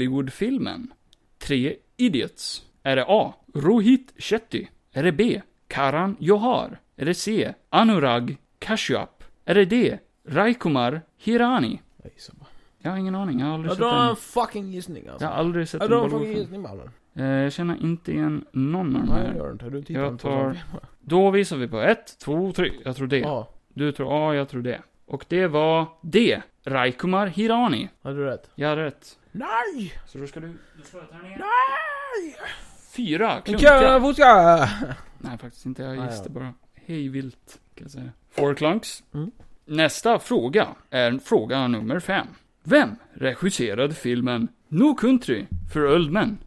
Bollywoodfilmen Tre Idiots? Är det A. Rohit Shetty? Är det B. Karan Johar? Är det C. Anurag Kashyap? Är det D. Raikumar Hirani?
Jag gissar bara.
Jag har ingen aning, jag har aldrig
Jag
sett
drar
en...
en fucking gissning alltså.
Jag har aldrig sett
Jag
en
drar en fucking
Bollywoodfilm.
gissning mannen.
Eh, jag känner inte igen någon av de
Nej, jag
här.
gör inte. Du tittar
Jag
inte på
tar-
sånt.
Då visar vi på ett, två, tre. Jag tror D.
Ja,
Du tror A, jag tror D. Och det var D. Raikumar Hirani.
hade du rätt?
Jag hade rätt.
Nej!
Så då ska du... Du slår tärningen.
Nej!
Fyra
En
klunkar.
kö fotska!
Nej, faktiskt inte.
Ah, ja.
Jag gissade bara. Hej vilt, kan jag säga. Four clunks.
Mm.
Nästa fråga är fråga nummer fem. Vem regisserade filmen No Country for Old Men?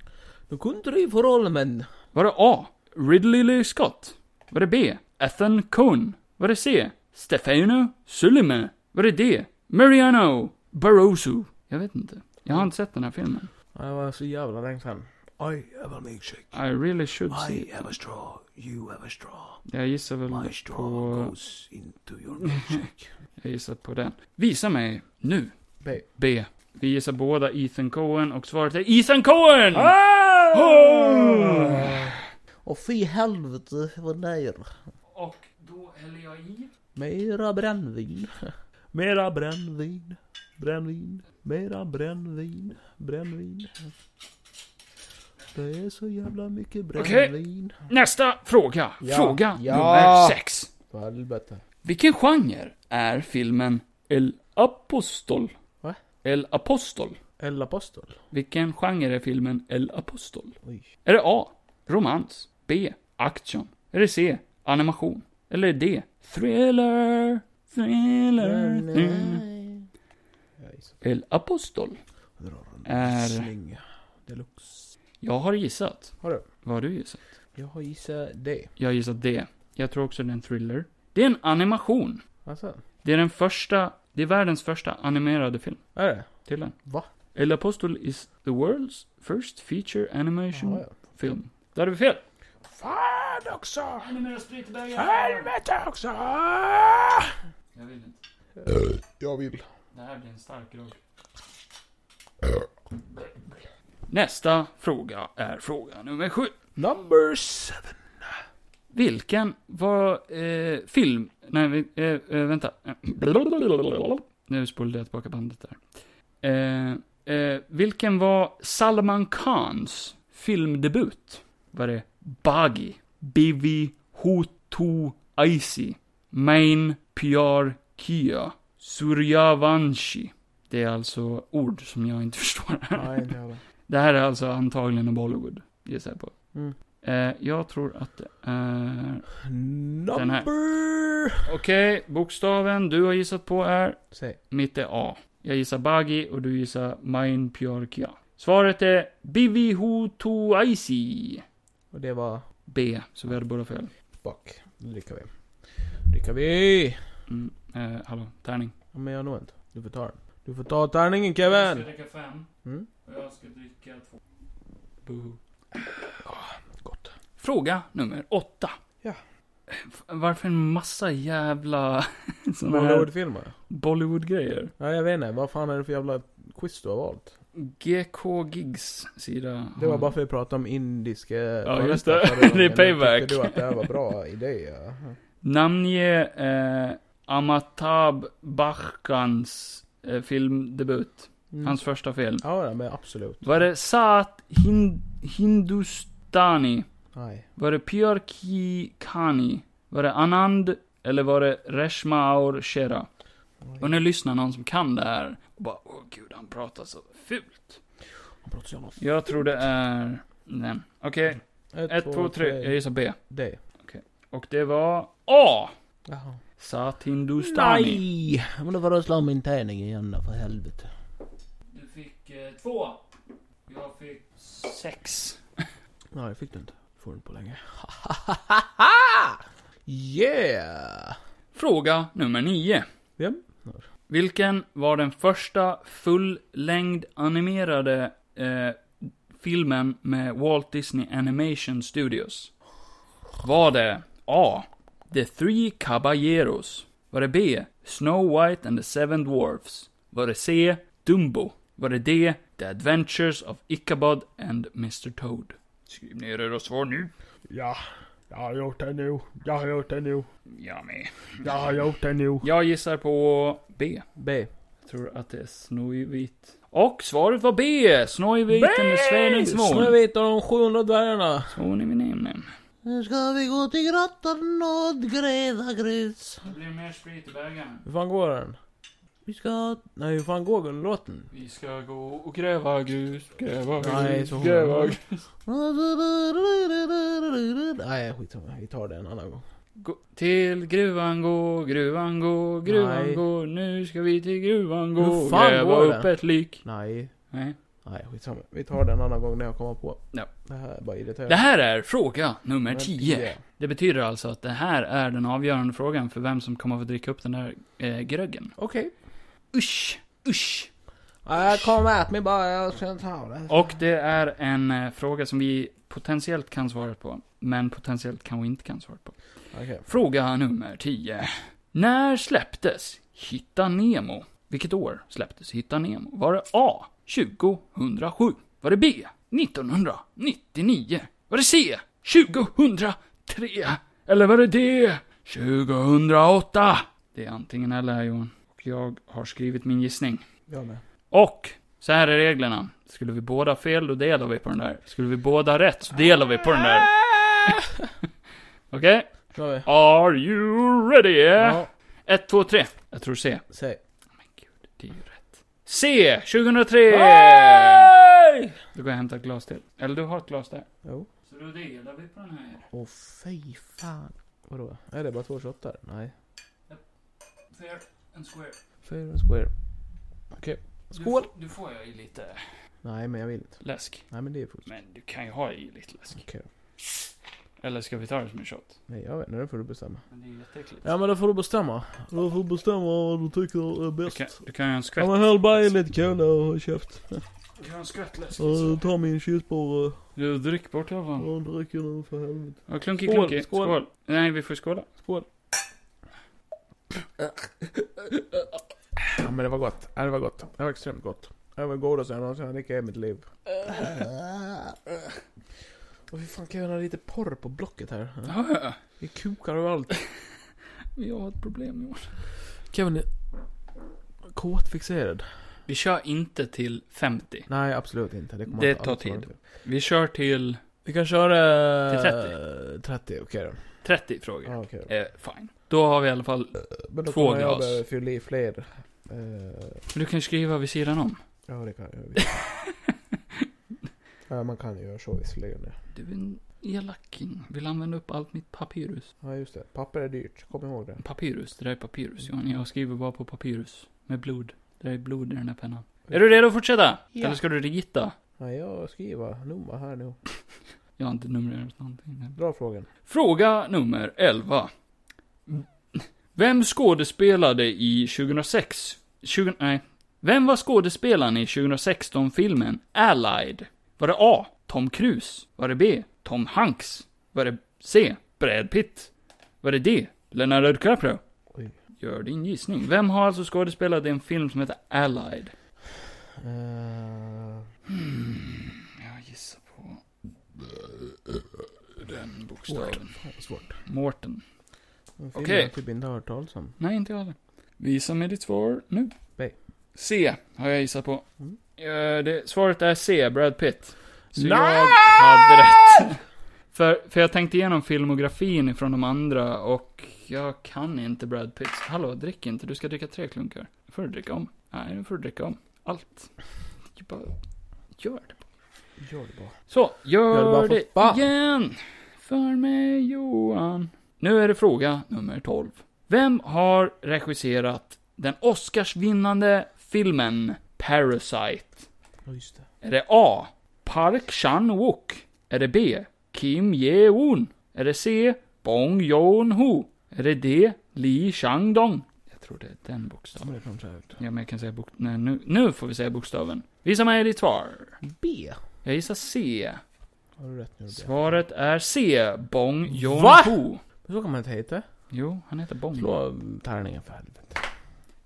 Du kunde du ju förhålla men.
Var det A. Ridley Lee Scott? Var det B. Ethan Cohn? Var det C. Stefano Sullivan? Var det D. Mariano Barroso? Jag vet inte. Jag har inte sett den här filmen.
Det var så jävla länge sen.
I have a milkshake.
I really should see
I
it.
have a straw. You have a straw.
Jag gissar väl
My straw
på...
goes into your milkshake.
Jag gissar på den. Visa mig nu.
B.
B. Vi gissar båda Ethan Cohen och svaret är Ethan Cohen!
Ah!
Oh!
Och fy helvete vad nära.
Och då häller jag i.
Mera brännvin. Mera brännvin. Brännvin. Mera brännvin. Brännvin. Det är så jävla mycket
Okej.
brännvin.
Nästa fråga.
Ja.
Fråga
Ja.
nummer sex.
För helvete.
Vilken genre är filmen El Apostol?
Va?
El Apostol.
El Apostol.
Vilken genre är filmen El Apostol?
Oj.
Är det A. Romans. B. Action. Är det C. Animation. Eller är det D. Thriller. Thriller. thriller.
Jag gissar.
El Apostol.
Jag drar en
Är-
gissning. Deluxe.
Jag har gissat.
Har du?
Vad har du gissat?
Jag har gissat det.
Jag har gissat D. Jag tror också det är en thriller. Det är en animation.
Alltså,
Det är den första, det är världens första animerade film.
är det?
Till den.
Va?
El Apostol is the world's first feature animation
Ja, ja.
film. Där hade vi fel.
Fan också!
Animera sprit i
Helvete också!
Jag vill inte.
Jag vill.
Det här blir en stark grogg. Nästa fråga är fråga nummer sju.
Number seven.
Vilken var eh, film... Nej, vi- eh, eh, vänta. Nu spolade jag tillbaka bandet där. Eh, eh, vilken var Salman Khans filmdebut? Var det Bagi, Bivi, Hutu, Aisi, Main, Pyar, Kia, Suryavanshi? Det är alltså ord som jag inte förstår.
Nej, inte heller.
Det här är alltså antagligen en Bollywood, gissar jag på.
Mm.
Eh, jag tror att det är... Den här.
Number...
Okej, bokstaven du har gissat på är...
Säg.
Mitt är A. Jag gissar Bagi och du gissar Main Pjorkia. Svaret är Bivihutu Aisi.
Och det var...
B, så vi hade båda fel.
Fuck. Nu dricker vi. Dricker vi!
Mm, eh, hallå, tärning.
Ja, men jag har nog inte. Du får ta den. Du får ta tärningen Kevin!
dricka fem.
Mm.
Och jag ska dricka två. Boo.
Ah, Gott.
Fråga nummer åtta.
Ja.
F- Varför en massa jävla... såna här
Hollywoodfilmer?
Bollywood-grejer?
Ja, jag vet inte. Vad fan är det för jävla quiz du har valt?
GK Gigs sida.
Det var
har-
bara för att prata om indiska...
Mm. Ja, just
valuta
det.
förra gången.
Det är
Nu
payback.
Tyckte du att det här var bra idé? Ja.
Namnge eh, Amitabh Bachchans eh, filmdebut.
Mm.
Hans första film.
Ja, ja, men absolut.
Var det Saat Hin- Hindustani?
Nej.
Var det Pyar Ki Kani? Var det Anand? Eller var det Reshma Aur Shera? Och nu lyssnar någon som kan det här. Och bara, åh gud, han pratar så fult.
Han pratar så jävla f-
Jag tror det är... Nej. Okej, ett, två, tre. Jag gissar B.
Det.
Och det var A.
Jaha.
Saat Hindustani.
Men då var det slå min tärning igen då, för helvete.
Du fick eh, två. Jag fick sex.
Nej, det fick du inte. Får du inte på länge. yeah!
Fråga nummer nio.
Vem?
Vilken var den första fullängd animerade eh, filmen med Walt Disney Animation Studios? Var det A. The Three Caballeros? Var det B. Snow White and the Seven Dwarfs? Var det C. Dumbo? Var det D. The Adventures of Ichabod and Mr Toad? Skriv ner era svar nu.
Ja, jag har gjort det nu. Jag har gjort det nu.
Jag med.
Jag har gjort det nu.
Jag gissar på B.
B.
Jag tror att det är Snojvitt. Och svaret var B! Snojviten med Svenningsmoln.
Snövit och de 700 dvärgarna.
Hon är min nämn.
Nu ska vi gå till grottan och gräva grus.
Det blir mer sprit i bägaren.
Hur fan går den? Vi ska... Nej, hur fan går den låten?
Vi ska gå och gräva grus, gräva grus,
Nej, så hon-
gräva grus.
Nej, skitsamma. Vi tar det en annan gång.
Gå, till gruvan gå, gruvan gå, gruvan
Nej.
gå. Nu ska vi till gruvan gå
Hur
och
fan
gräva
går det?
upp ett lik.
Nej.
Nej.
Nej, skitsamma. Vi tar det en annan gång när jag kommer på.
Ja.
Det här är bara
Det
irriterande.
här är fråga nummer
Men
10. Det betyder alltså att det här är den avgörande frågan för vem som kommer att få dricka upp den där eh, gröggen.
Okej.
Usch, usch.
Ja, Jag kommer att mig bara. Jag ska ta det.
Och det är en eh, fråga som vi potentiellt kan svara på. Men potentiellt kanske inte kan svara på.
Okej.
Fråga nummer 10. När släpptes Hitta Nemo? Vilket år släpptes Hitta Nemo? Var det A. 2007? Var det B. 1999? Var det C. 2003? Eller var det D. 2008? Det är antingen eller här, Johan. Och jag har skrivit min gissning.
Jag med.
Och så här är reglerna. Skulle vi båda fel, då delar vi på den där. Skulle vi båda rätt, så delar vi på den där. Okej?
Jag
Eh.
med.
Are you ready?
Ja,
1, 2, 3. Jag tror C.
säg.
Men gud, det är ju rätt. C! 2003! Då går jag och hämtar ett glas till. Eller du har ett glas där.
Jo.
Så då delar vi på den här.
Åh fy fan. Vadå? Är det bara två shottar? Nej.
Fair and square.
Fair and square. Okej. Skål!
Du, får jag i lite
Nej men jag vill inte.
läsk.
Nej men det är fullt.
Men du kan ju ha i lite läsk.
Okej.
Eller ska vi ta det som en shot?
Nej jag vet inte, det får du bestämma.
Men det är ju jätteäckligt.
Ja men då får du bestämma. Då får du bestämma vad du tycker är
Du
bäst.
kan, du kan ju ha en skvätt.
Ja men häll bara i lite cola och köpt.
Du kan ha en skvätt läsk.
Och ta min kyssborre
Du, drick bort i alla fall.
och dricker nu för helvete.
Ja, klunky,
Skål,
klunky.
skål.
Skål. Nej, vi får skåla.
Skål. Ja men det var gott. Ja, det var gott. Det var extremt gott. Det var det godaste jag någonsin har druckit i mitt liv. Och hur fan kan jag göra lite porr på blocket här? Ja,
Ja, ja.
Vi kokar och allt.
Jag har ett problem Johan.
Kevin är kåtfixerad.
Vi kör inte till 50.
Nej absolut inte. Det, kommer
Det
inte
tar
alls vara
tid.
kul.
Vi kör till
Vi kan köra...
Till
30? 30, okej då.
30 frågor.
Ja, okej.
Eh, fine. Då har vi i alla fall...
Men då
Eh, Två
kommer jag
glas.
behöva fylla i fler. Eh,
Men Du kan ju skriva vid sidan om.
ja, det kan jag visst. Ja, man kan ju göra så visserligen. ja.
Du är en elaking. Vill använda upp allt mitt papyrus.
Ja, just det. Papper är dyrt. Kom ihåg det.
Papyrus, det där är papyrus Johan. Jag skriver bara på papyrus. Med blod. Det där är blod i den här pennan.
Mm.
Är du redo att fortsätta?
Ja.
Eller ska du rita?
Nej, jag skriver nummer här nu.
Jag har inte numrerat någonting.
Dra frågan.
Fråga nummer 11. Vem skådespelade i 2006... 20, nej. Vem var skådespelaren i 2016-filmen Allied? Var det A. Tom Cruise? Var det B. Tom Hanks? Var det C. Brad Pitt? Var det D. Leonardo DiCaprio?
Oj.
Gör din gissning. Vem har alltså skådespelat i en film som heter Allied?
Eh,
Jag gissar på... Den bokstaven.
fan, vad svårt.
Mårten.
En film
Okej.
jag typ inte har hört talas om.
Nej, inte jag heller. Visa mig ditt svar nu.
B.
C, har jag gissat på.
Mm.
Eh, det, svaret är C, Brad Pitt. Så
Nej!
jag hade rätt. För, för jag tänkte igenom filmografin ifrån de andra och jag kan inte Brad Pitt. Hallå, drick inte. Du ska dricka tre klunkar. Nu får du dricka om. Nej, nu får du dricka om. Allt. Du bara gör det.
Gör det bara.
Så, gör,
Gör det bara för
det,
fan.
igen! För mig Johan. Nu är det fråga nummer 12. Vem har regisserat den Oscarsvinnande filmen Parasite?
Ja, just det.
Är det A. Park Chan-wook? Är det B. Kim Ye-woon? Är det C. Bong Joon-ho? Är det D. Lee Chang-dong? Jag tror det är den
Ja,
bokstaven.
men det kommer jag ut.
Ja, men jag kan säga bok... Nej, nu, nu får vi säga bokstaven. Visa mig ditt svar.
B.
Jag gissar C.
Har du rätt nu? B?
Svaret är C. Bong
Va?
Joon-ho.
Så kan man inte heta.
Jo, han heter Bong.
Slå tärningen för helvete.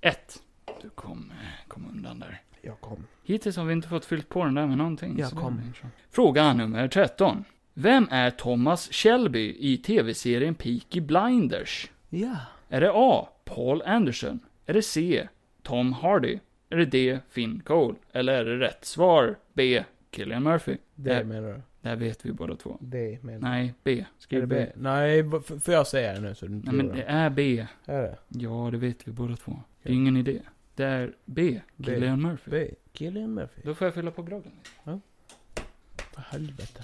1. Du kom, eh, kom undan där.
Jag kom.
Hittills har vi inte fått fyllt på den där med någonting.
Jag
så det
kom.
blir så. Fråga nummer 13. Vem är Thomas Shelby i tv-serien Peaky Blinders?
Ja.
Är det A. Paul Anderson? Är det C. Tom Hardy? Är det D. Finn Cole? Eller är det rätt svar B. Killian Murphy?
Det
Där-
menar du?
Där vet vi båda två.
Det menar du?
Nej, B.
Är
Skriv
det
B.
B? Nej, va- f- får jag säga det nu så du inte
Nej, men
gör
det är B.
Är det?
Ja, det vet vi båda två. Det är
Okej.
ingen idé. Det är B.
B.
Killian Murphy.
B. Killian Murphy.
Då får jag fylla på glöggen.
För helvete.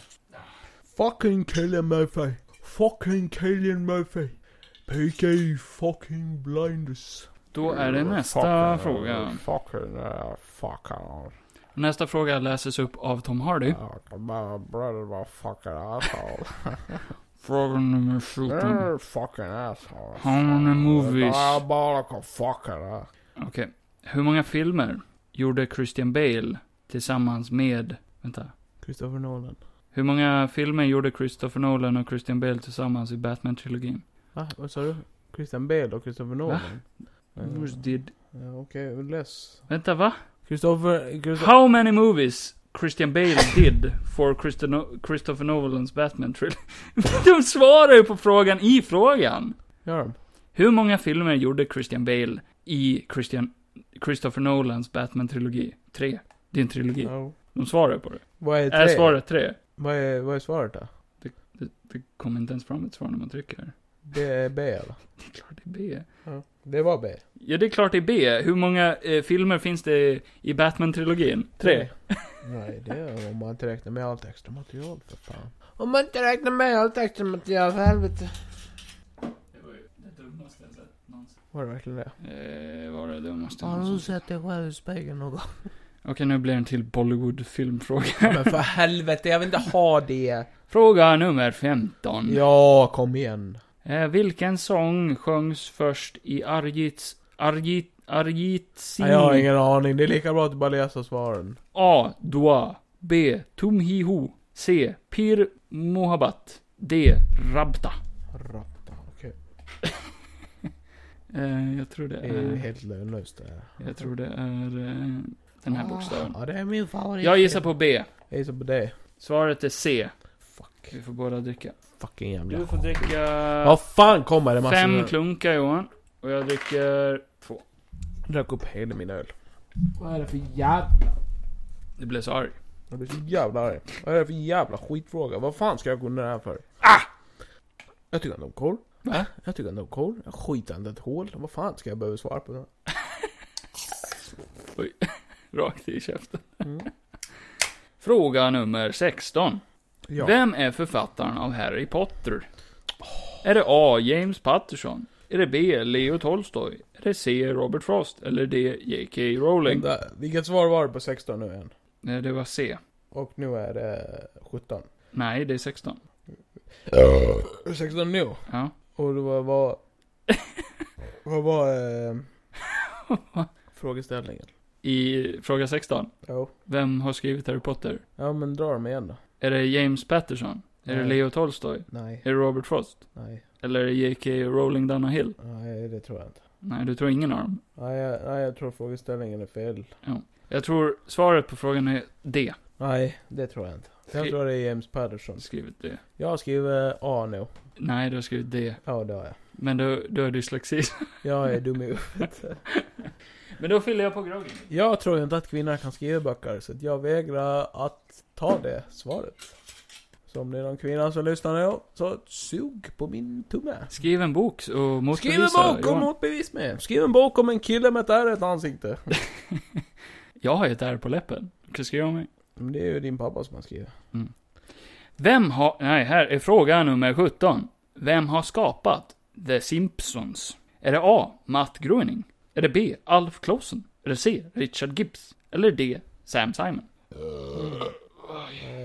Fucking Killian Murphy. Fucking Killian Murphy. PK fucking blinders.
Då är det nästa fråga.
Fucking, uh, fucking.
Nästa fråga läses upp av Tom Hardy.
Brother, fucking asshole.
Fråga nummer 14.
You're fucking asshole.
How many movies?
I'm bara like a fucking ass.
Okej. Hur många filmer gjorde Christian Bale tillsammans med... Vänta.
Christopher Nolan.
Hur många filmer gjorde Christopher Nolan och Christian Bale tillsammans i Batman-trilogin?
Va? Vad sa du? Christian Bale och Christopher Nolan?
Who's
Eh,
did...
ja, Okej, läs.
Vänta, va?
Christopher... Christo-
How many movies Christian Bale did for Christo- Christopher Nolans Batman trilogy? De svarar ju på frågan i frågan!
Gör de?
Hur många filmer gjorde Christian Bale i Christian, Christopher Nolans Batman-trilogi? Tre. Det är en trilogi.
Ja.
De svarar på det.
Vad är
Är,
tre?
svaret tre?
Vad är, vad är svaret då?
Det kommer inte ens fram ett svar när man trycker här.
Det är B eller?
Det är klart det är B.
Det var B.
Ja, det är klart det är B. Hur många eh, filmer finns det i Batman-trilogin? Tre.
Nej, det är om man inte räknar med allt extra material för fan. Om man inte räknar med allt extra material för helvete.
Det Eh, var ju det dummaste jag sett någonsin.
Var det verkligen det?
Eh, var det dummaste jag
Har du
någonsin
sett dig själv i spegeln någon gång?
Okej, nu blir det en till Bollywood-filmfråga.
Men för helvete, jag vill inte ha det.
Fråga nummer 15.
Ja, kom igen.
Eh, vilken sång sjöngs först i Arjits... Arjit... Arjit Singh?
Nej, jag har ingen aning. Det är lika bra att du bara läser svaren.
A. Dua. B. Tum Hi Ho. C. Pir Mohabbat. D. Rabta.
Rapta, okej.
Eh, jag tror det
Det är
är...
helt lönlöst det här.
Jag tror det är... Eh, den
Ah.
här bokstaven.
Ja, det är min favorit.
Jag gissar på B.
Jag gissar på det.
Svaret är C.
Fuck.
Vi får båda dricka.
Fucking jävla...
Du får dricka...
Vad fan kommer det massor
Fem
med-
klunkar Johan. Och jag dricker två.
Drack upp hela min öl.
Vad är det för jävla...
Det blev så arg.
Jag blir så jävla arg. Vad är det för jävla skitfråga? Vad fan ska jag gå ner här för? Ah! Jag tycker inte om kol.
Va?
Jag tycker inte om kol. Jag skiter inte ett hål. Vad fan ska jag behöva svara på det?
Rakt i käften.
Mm.
Fråga nummer 16.
Ja.
Vem är författaren av Harry Potter? Är det A. James Patterson? Är det B. Leo Tolstoy? Är det C. Robert Frost? Eller D. J.K. Rowling?
Vänta, eh, vilket svar var det på 16 nu igen?
Nej, det var C.
Och nu är det eh, 17.
Nej, det är 16.
16 nu.
Ja.
Och det var... Vad, vad var eh, frågeställningen?
I fråga 16.
Jo.
Vem har skrivit Harry Potter?
Ja men dra dem igen då.
Är det James Patterson? Är det
Nej.
Leo Tolstoy?
Nej,
Är det Robert Frost?
nej,
Eller är det J.K. Rowling Donna Hill?
nej det tror jag inte.
Nej, du tror ingen av dem.
Nej jag, nej, jag tror frågeställningen är fel.
Jag tror svaret på frågan är D.
Nej, det tror jag inte. Jag
Skri-
tror det är James Patterson.
Skrivit D.
Jag skriver A nu.
Nej, du har skrivit D.
Ja, det har jag.
Men du, du har dyslexi.
Jag är dum i huvudet.
Men då fyller jag på groggen.
Jag tror inte att kvinnor kan skriva böcker, så att jag vägrar att ta det svaret. Så om det är någon kvinna som lyssnar nu, så sug på min tumme.
Skriv en bok och motbevisa.
Skriv en bok och
Johan.
motbevis med. Skriv en bok om en kille med ett ärligt ansikte.
Jag har ju ett R på läppen. Du kan skriva om mig.
Men det är ju din pappa som har skrivit.
Vem har... Nej, här är fråga nummer 17. Vem har skapat The Simpsons? Är det A. Matt Groening? Är det B. Alf Clausen? Är det C. Richard Gibbs? Eller D. Sam Simon?
Nej,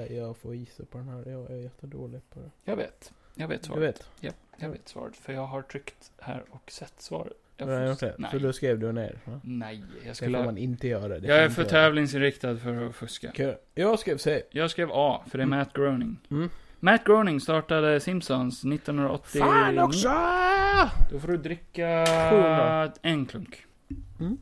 Mm. Jag får gissa på den här. Jag är jättedålig på det.
Jag vet. Jag vet
Du
svaret.
vet.
Jag vet svaret, för jag har tryckt här och sett svaret. Jag
Nej,
får-
jag vet.
Nej.
Så då skrev du ner. va?
Nej, jag
Det får
skulle...
man inte göra. Det får
jag är
man
för
inte göra.
tävlingsinriktad för att fuska.
Kul. Jag skrev C.
Jag skrev A, för det är Matt Groening.
Mm.
Matt Groening startade Simpsons 1989.
Fan också!
Då får du dricka
Coola.
en klunk.
Mm.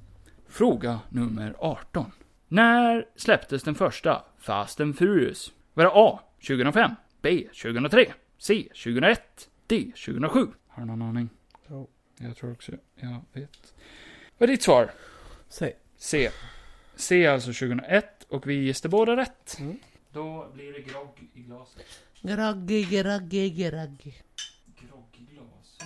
Fråga nummer 18. När släpptes den första Fast and Furious? Var det A. 2005? B. 2003? C. 2001? D. 2007? Har du någon aning?
Ja.
Jag tror också jag vet. Vad är ditt svar?
C.
C. C är alltså 2001 och vi gissade båda rätt.
Mm.
Då blir det grogg i glaset.
Groggy, groggy, groggy.
Groggglas.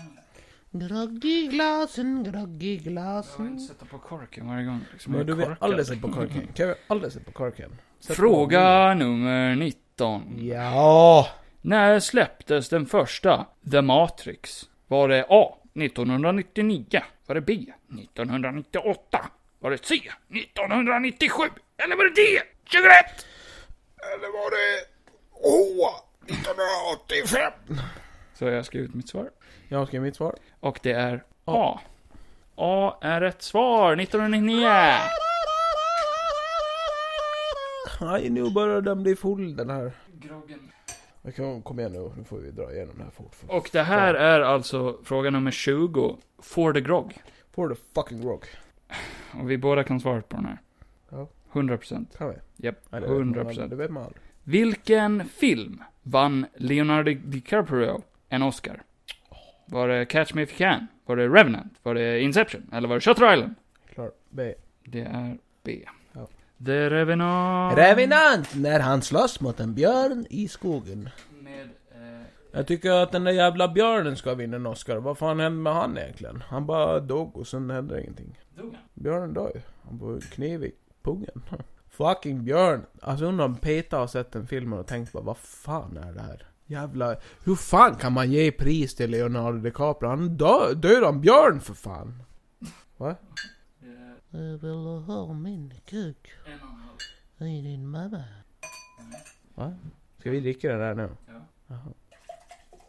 Groggy glasen, groggy
Jag vill
glasen.
inte sätta på korken varje gång. Liksom.
Men
Jag
du
är
vill
korkad.
aldrig sätta på korken. Kan vi aldrig sätta på korken? Sätt
Fråga nummer 19.
på. Ja.
När släpptes den första The Matrix? Var det A. 1999? Var det B. 1998? Var det C. 1997? Eller var det D. 2001?
Eller var det Åh! 1985!
Så jag skrev ut mitt svar.
Jag skrev mitt svar.
Och det är A. A är rätt svar. 1999.
Nej, nu börjar den bli full den här.
Groggen.
Vi kan, kom igen nu, nu får vi dra igenom det här fort. fort.
Och det här är alltså fråga nummer 20. Får det grogg?
For the fucking rock.
Och vi båda kan svara på den här.
Ja.
100%.
Kan vi?
Japp,
Nej, det vet man
100%.
aldrig, Det vet man aldrig.
Vilken film vann Leonardo DiCaprio en Oscar? Var det Catch Me If You Can? Var det Revenant? Var det Inception? Eller var det Shutter Island?
Klar. B.
Det är B.
Ja.
The Revenant.
Revenant Ah. när han slåss mot en björn i skogen.
Med, eh,
Jag tycker att den där jävla björnen ska vinna en Oscar. Vad fan hände med han egentligen? Han bara dog och sen hände ingenting.
dog han?
Björnen dör ju. Han får en kniv i pungen. Fucking björn. Alltså undrar om Peter har sett den filmen och tänkt bara vad fan är det här? Jävla... Hur fan kan man ge pris till Leonardo DiCaprio? Han dö- dödade en björn för fan!
Det
Jag vill ha min kuk
är en och en halv.
i din mamma.
Ska vi dricka den där nu?
Ja.
Jaha.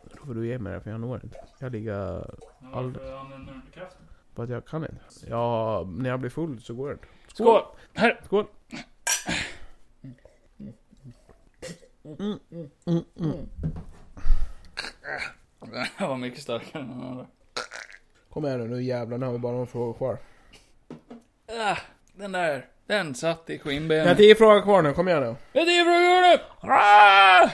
Då får du ge mig det för jag når inte. Jag ligger...
Men
Aldrig.
varför använder du inte kraften?
För att jag kan inte. Ja, när jag blir full så går det inte.
Skål! Här!
Skål!
Den här var mycket starkare än den andra.
Kom igen nu, nu jävlar, nu har vi bara några frågor kvar.
Ah, den där. Den satt i
Jag har
skinnbenet.
tio frågor kvar nu, kom igen nu.
Det är fråga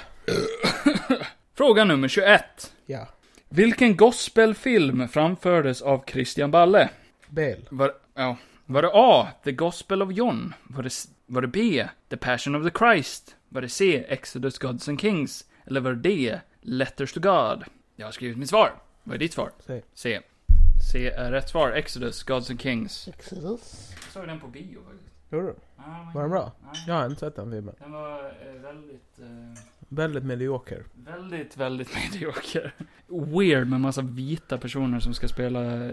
nu! Fråga nummer 21.
Ja.
Vilken gospelfilm framfördes av Christian Balle?
Bell.
Var, ja, var det A. The Gospel of John? Var det, s- var det B. The Passion of the Christ? Var det C. Exodus Gods and Kings? Eller var det D. Letters to God? Jag har skrivit mitt svar. Vad är ditt svar?
C.
C. C är rätt svar. Exodus Gods and Kings.
Exodus.
Jag såg den på bio faktiskt. Ah,
Gjorde du? Var den bra? Jag har inte sett den filmen.
Den var eh, väldigt, eh,
Väldigt medioker.
väldigt, väldigt medioker. Weird med massa vita personer som ska spela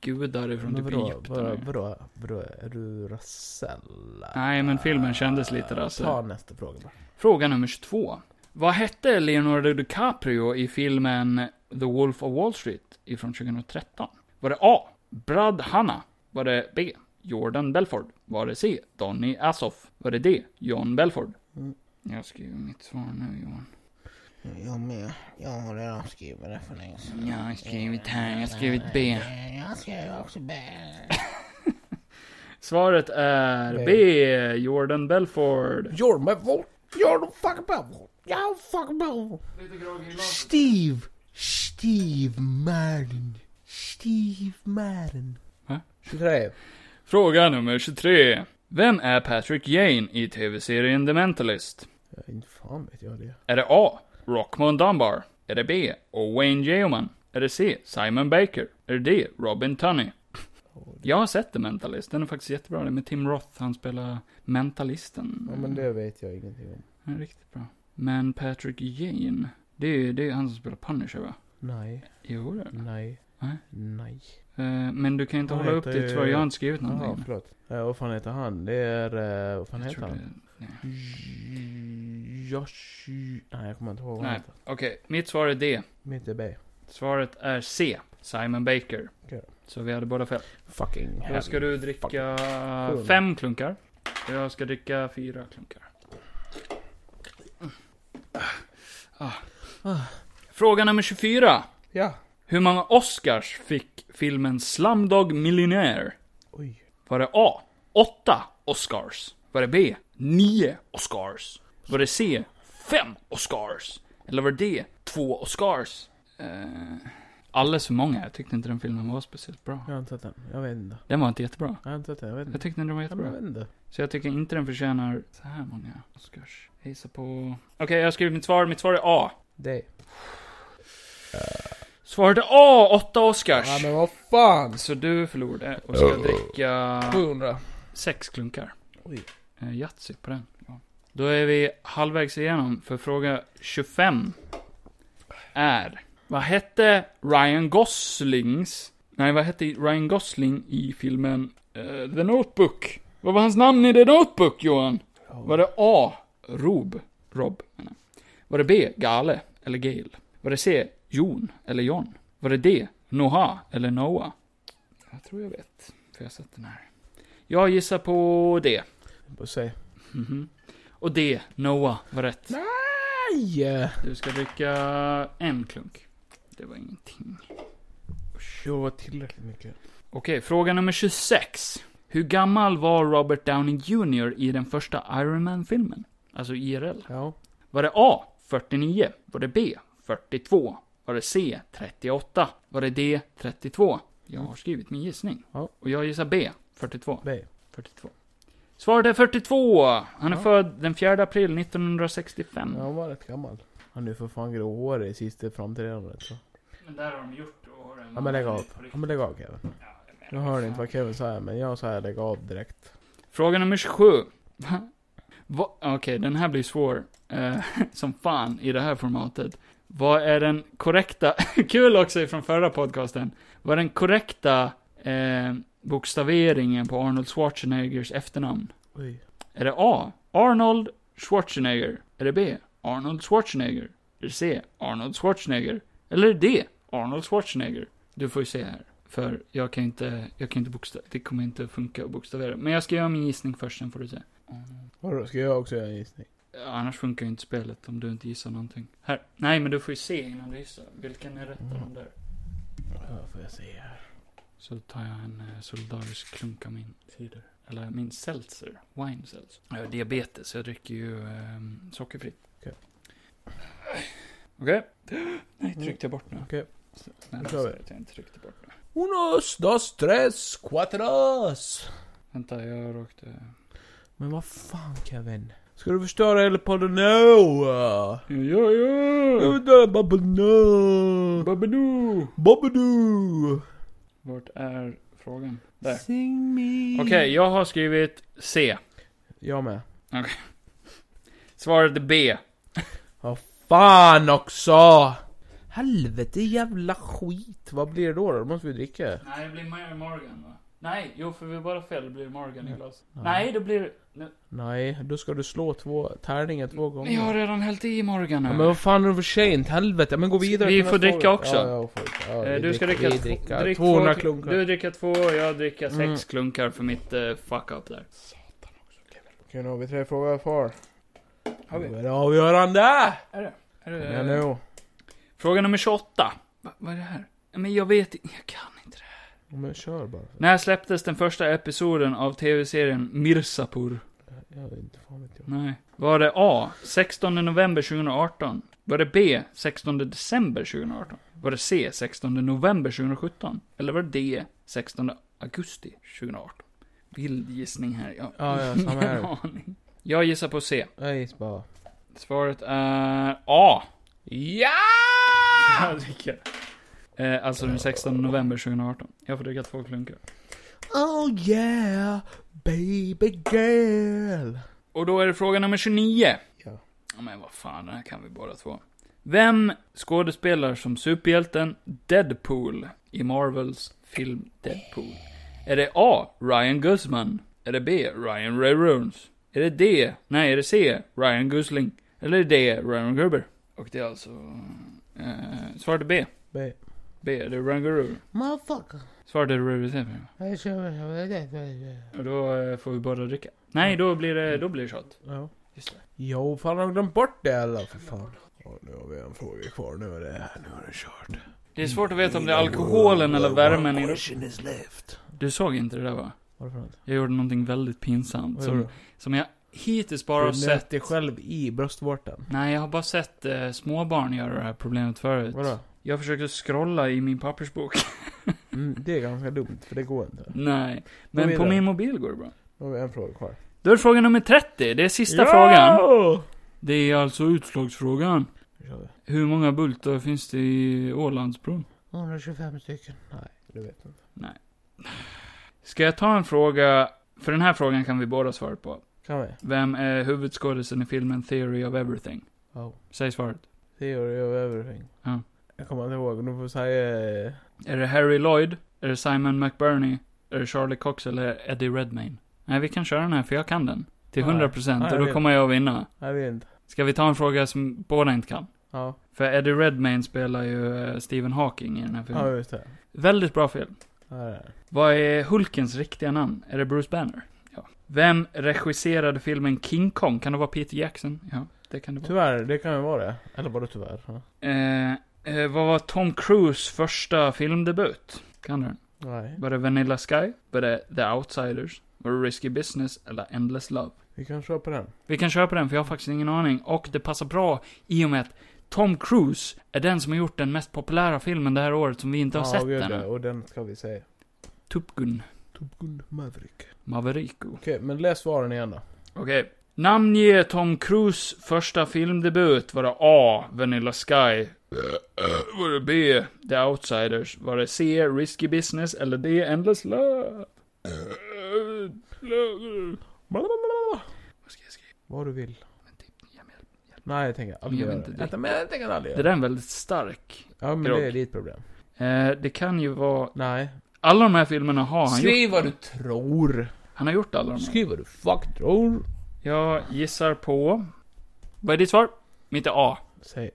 gudar ifrån
Men
typ
vadå, vadå,
Egypten.
vadå, vadå, är du rasell?
Nej, men filmen kändes lite rassel.
Ta nästa fråga bara.
Fråga nummer 22. Vad hette Leonardo DiCaprio i filmen The Wolf of Wall Street ifrån 2013? Var det A. Brad Hanna? Var det B. Jordan Belford? Var det C. Donny Assoff? Var det D. John Belford?
Mm.
Jag skriver mitt svar nu, Johan.
Jag med. Jag har redan skrivit det för länge sedan.
Jag har skrivit här, jag har skrivit B.
Jag skrev också B.
Svaret är
Nej.
B. Jordan Belford.
You're my vote!
You're the fucking bubble. You're the fucking bubble. Steve. Steve Madden. Steve Madden.
23.
Fråga nummer 23. Vem är Patrick Jane i tv-serien The Mentalist?
Ja, inte fan vet jag det.
Är det A. Rockman Dunbar? Är det B. Owen Yeoman? Är det C. Simon Baker? Är det D. Robin Tunney? Jag har sett The Mentalist, den är faktiskt jättebra. Den är med Tim Roth, han spelar mentalisten.
Ja, men det vet jag ingenting om.
Den är riktigt bra. Men Patrick Jane, det är, det är han som spelar Punisher va?
Nej,
Jo, det är det.
nej,
Nej.
nej.
Eh, Men du kan inte
Han
hålla upp
heter
ditt
ju-
svar, jag har inte skrivit någonting.
Jaha, förlåt. Eh, vad fan heter han? Det är... eh, vad fan
Jag
heter
tror
han?
det- nej.
Josh... Nej, jag kommer inte ihåg vad han
Nej,
heter.
okej. Mitt svar är D.
Mitt i B.
Svaret är C. Simon Baker.
Okej.
Så vi hade båda fel.
Fucking
Då ska du dricka fem klunkar. Jag ska dricka fyra klunkar. Ah. Fråga nummer 24.
Ja.
Hur många Oscars fick filmen Slumdog Millionaire?
Oj.
Var det A. 8 Oscars? Var det B. 9 Oscars? Var det C. 5 Oscars? Eller var det D. 2 Oscars? Uh, alldeles för många. Jag tyckte inte den filmen var speciellt bra.
Jag har inte sett den. Jag vet inte.
Den var inte jättebra.
Jag har inte sett den. Jag vet
Jag
inte.
tyckte inte den var
Ja, men Jag
jättebra.
vet inte.
Så jag tycker inte den förtjänar så här många Oscars. Jag gissar på... Okej, jag har skrivit mitt svar. Mitt svar är A.
Det.
Svaret är A! 8 Oscars!
Ja men vad fan.
Så du förlorade och ska dricka
700.
sex klunkar.
Oj.
Eh, Yatzy på den. Ja. Då är vi halvvägs igenom, för fråga 25 är... Vad hette Ryan Goslings... Nej, vad hette Ryan Gosling i filmen eh, The Notebook? Vad var hans namn i The Notebook, Johan? Var det A. Rob? Rob, menar jag. Var det B. Gale? Eller Gale? Var det C. Jon? Eller John? Var det D. Noah? Eller Noah? Jag tror jag vet, för jag har sett den här. Jag gissar på D.
På sig.
Mhm. Och det, Noah, var rätt.
Nej! eh,
Du ska dricka en klunk. Det var ingenting.
Det var tillräckligt mycket.
Okej, fråga nummer 26. Hur gammal var Robert Downey Jr i den första Iron Man-filmen? Alltså IRL.
Ja.
Var det A. 49? Var det B. 42? Var det C. 38? Var det D. 32? Jag har skrivit min gissning.
Ja.
Och jag gissar B. 42.
Nej.
42. Svaret är 42! Han är
Ja.
född den 4 april 1965.
Ja, han var rätt gammal. Han är ju för fan gråhårig i sista framträdandet. så.
Men där har de gjort och
Ja men lägg av. Ja men lägg av Kevin. Nu hör ni inte vad Kevin säger men jag säger lägg av direkt.
Fråga nummer 27. Va? Va? Okej, den här blir svår. Eh, som fan i det här formatet. Vad är den korrekta... Kul också från förra podcasten. Vad är den korrekta eh, bokstaveringen på Arnold Schwarzeneggers efternamn?
Oj.
Är det A. Arnold Schwarzenegger? Är det B. Arnold Schwarzenegger? Är det C. Arnold Schwarzenegger? Eller är det D. Arnold Schwarzenegger? Du får ju se här. För jag kan inte, jag kan inte bokstavera, det kommer inte funka att bokstavera. Men jag ska göra min gissning först, sen får du se.
Vadå, ska jag också göra en gissning?
Ja, Annars funkar ju inte spelet om du inte gissar någonting. Här. Nej, men du får ju se innan du gissar. Vilken är rätt av de där?
Ja, får jag se här.
Så tar jag en eh, solidarisk klunk av min cider. Eller min seltzer. Wine seltzer. Jag har diabetes, så jag dricker ju eh, sockerfritt.
Okej.
Okej. Nej, tryckte jag bort Mm. nu?
Okej.
Nej,
Då
jag
kör vi.
ser att jag inte tryckte bort nu.
Unos, dos, tres, cuatros!
Vänta, jag råkade...
Men vad fan Kevin? Ska du förstöra hela podden nu?
Ja, ja,
Jag
ja!
vill döda Babadoo!
Babadoo!
Babadoo!
Vart är frågan? Där.
Sing me.
Okej, jag har skrivit C.
Jag med.
Svaret är B.
Ja, fan också! Helvete jävla skit. Vad blir det då? Då måste vi dricka.
Nej, det blir Mary Morgan va? Nej, jo för vi är bara fel, det blir Morgan i glas.
Ja.
Nej, det blir... Nu-
Nej, då ska du slå två tärningar två gånger.
Ni har redan hällt i Morgan nu.
Ja, men vad fan är det för sent? Helvete. Men gå vidare
Vi
till
får
nästa
dricka
fråga.
också.
Ja, ja, får- ja,
Eh,
vi
du ska dricka,
vi
tv-
dricker
drick
200
två,
klunkar.
Du dricker två, jag dricker sex
Mm.
klunkar för mitt eh, fuck-up där.
Okej, nu har vi tre frågor kvar.
Har vi?
Nu är det avgörande! Ja,
Eh.
nu.
Fråga nummer 28. Va, vad är det här? Men jag vet inte, jag kan inte det här.
Men kör bara.
När släpptes den första episoden av tv-serien Mirsapur?
Jag vet inte, fan vet jag.
Nej. Var det A. 16 november 2018? Var det B. 16 december 2018? Var det C. 16 november 2017? Eller var det D. 16 augusti 2018? Vild gissning här. Jag
Ja, ja, samma här.
ingen aning. Jag gissar på C.
Jag gissar bara.
Svaret är A.
Ja!
Jag dricker. Eh, alltså den 16 november 2018. Jag får dricka två klunkar.
Oh yeah, baby girl.
Och då är det fråga nummer 29.
Ja.
Ja, men vad fan, den här kan vi båda två. Vem skådespelar som superhjälten Deadpool i Marvels film Deadpool? Är det A. Ryan Guzman? Är det B. Ryan Ray Runes? Är det D. Nej, är det C. Ryan Gosling? Eller är det D. Ryan Gerber? Och det är alltså... Eh, svaret är B.
Ba-
B. Det är Ryan Gerber.
Motherfucker.
Svaret är Ryan
Jag kör- jag vet inte.
Och då eh, får vi båda dricka. Nej, då blir det, då blir det shot.
Ja.
Just det.
Jo, fan har de glömt bort det eller? För fan. Ja, nu har vi en fråga kvar. Nu är det, nu är det kört.
Det är svårt att veta om det är
Mm.
alkoholen eller värmen i
Question is left.
Du såg inte det där va?
Vad är det för något?
Jag gjorde någonting väldigt pinsamt.
Vad gjorde
Som, som jag hittills bara har
Du nöt
sett...
dig själv i bröstvårtan.
Nej, jag har bara sett eh, småbarn göra det här problemet förut.
Vadå?
Jag försökte scrolla i min pappersbok.
Mm, det är ganska dumt, för det går inte.
Nej.
Gå
Men på
vidare.
min mobil går det bra.
Nu har vi en fråga kvar.
Då är fråga nummer 30. Det är sista frågan. Det är alltså utslagsfrågan.
Nu kör vi.
Hur många bultar finns det i Ålandsbron?
125 stycken.
Nej, du vet inte.
Ska jag ta en fråga? För den här frågan kan vi båda svara på.
Kan vi?
Vem är huvudskådisen i filmen Theory of Everything?
Oh.
Säg svaret.
Theory of everything.
Ja.
Jag kommer inte ihåg, nu får vi säga... eh,
Är det Harry Lloyd? Är det Simon McBurney? Är det Charlie Cox eller Eddie Redmayne? Nej, vi kan köra den här för jag kan den. Till
Nej.
100%
Nej,
procent
jag
och då
vet.
kommer jag att vinna.
Jag vet inte.
Ska vi ta en fråga som båda inte kan?
Ja.
För Eddie Redmayne spelar ju eh, Stephen Hawking i den här filmen.
Ja, just det.
Väldigt bra film.
Ja, det är det.
Vad är Hulkens riktiga namn? Är det Bruce Banner? Ja. Vem regisserade filmen King Kong? Kan det vara Peter Jackson? Ja, det kan det vara.
Tyvärr, det kan ju vara det. Eller var det tyvärr? Ja.
Eh, eh, vad var Tom Cruise första filmdebut? Kan du den?
Nej.
Var det Vanilla Sky? Var det The Outsiders? Var det Risky Business? Eller Endless Love?
Vi kan köpa den.
Vi kan köpa den, för jag har faktiskt ingen aning. Och det passar bra i och med att Tom Cruise är den som har gjort den mest populära filmen det här året som vi inte har
Ja,
sett
gud,
än.
ja, Och den ska vi se.
Top Gun
Top Gun Maverick.
Mavericko.
Okej, men läs svaren igen då.
Okej. Namnge Tom Cruise första filmdebut. Var det A. Vanilla Sky? Var det B. The Outsiders? Var det C. Risky Business? Eller D. Endless Love? Love.
Blablabla.
Vad ska jag skriva?
Vad du vill.
Men typ, jag menar,
Nej, jag tänker aldrig
Jag
göra
vill
det.
inte
Vänta, Men jag tänker aldrig göra
Det där är en väldigt stark.
Ja, men
grogg.
det är ditt problem.
Eh, det kan ju vara...
Nej.
Alla de här filmerna har han gjort.
Skriv vad du tror.
Han har gjort alla de här.
Skriv vad du fuck tror.
Jag gissar på... Vad är ditt svar? Mitt är A.
Säg.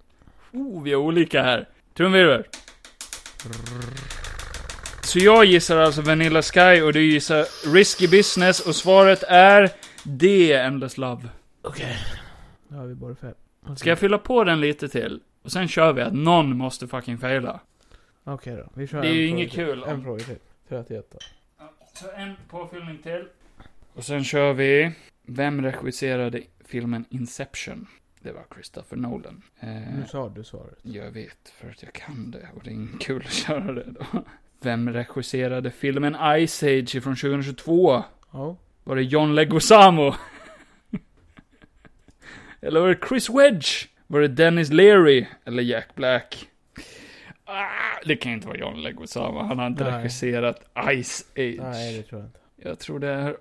Oh, vi är olika här. Trumvirvel. Så jag gissar alltså Vanilla Sky och du gissar Risky Business och svaret är D, Endless Love.
Okej. Nu har vi bara fel. Okej.
Ska jag fylla på den lite till? Och sen kör vi att någon måste fucking faila.
Okej då. Vi kör
Det är
en
ju
fråga
inget
till.
kul om-
En fråga till. 31 då.
Så en påfyllning till. Och sen kör vi. Vem regisserade filmen Inception? Det var Christopher Nolan. Eh,
Nu sa du svaret.
Jag vet, för att jag kan det. Och det är inte kul att köra det då. Vem regisserade filmen Ice Age från 2022?
Ja.
Var det John Leguizamo? Eller var det Chris Wedge? Var det Dennis Leary? Eller Jack Black? Ah, det kan inte vara John Leguizamo. Han har inte
Nej.
regisserat Ice Age.
Nej, det tror jag inte.
Jag tror det är...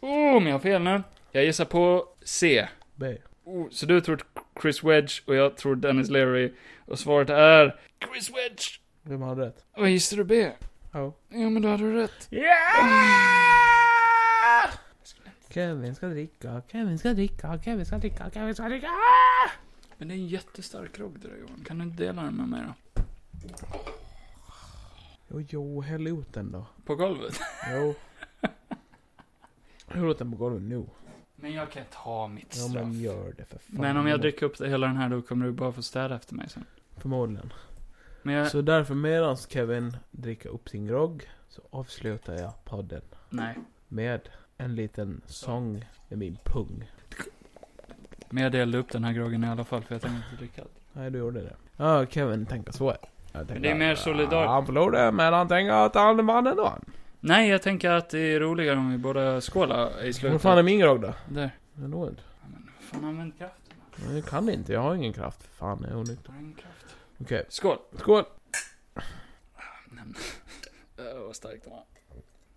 Oh, men jag har fel nu. Jag gissar på C.
B.
Oh, så du tror Chris Wedge och jag tror Dennis Leary. Och svaret är... Chris Wedge!
Vem hade rätt?
Vad gissar du B?
Ja.
Ja, men då hade du rätt.
Kevin ska dricka, Kevin ska dricka, Kevin ska dricka, Kevin ska dricka.
Men det är en jättestark grogg det där Johan. Kan du inte dela den med mig då?
Jo, jo, häll ut den då.
På golvet?
Jo. Häll ut den på golvet nu.
Men jag kan ta mitt
Ja,
straff.
men
men,
gör det för fan.
om jag dricker upp det hela den här då kommer du bara få städa efter mig sen.
Förmodligen.
Men jag...
Så därför medans Kevin dricker upp sin grogg så avslutar jag podden
Nej.
med en liten sång i min pung.
Men jag delade upp den här groggen i alla fall för jag tänkte inte dricka allt.
Nej, du gjorde det. Ja, Kevin tänker så. Jag tänker
det är mer
att,
solidar-
ja, Han förlorade, men han tänker att han vann ändå.
Nej, jag tänker att det är roligare om vi båda skålar i slutet.
Vad fan är min grogg då?
Där.
Den når inte.
Ja, men vad fan använd kraft.
Nej, Jag kan inte, jag har ingen kraft. För Fan, jag är onykter.
Har du ingen kraft?
Okej,
Skål!
skål!
Äh, vad starkt det var.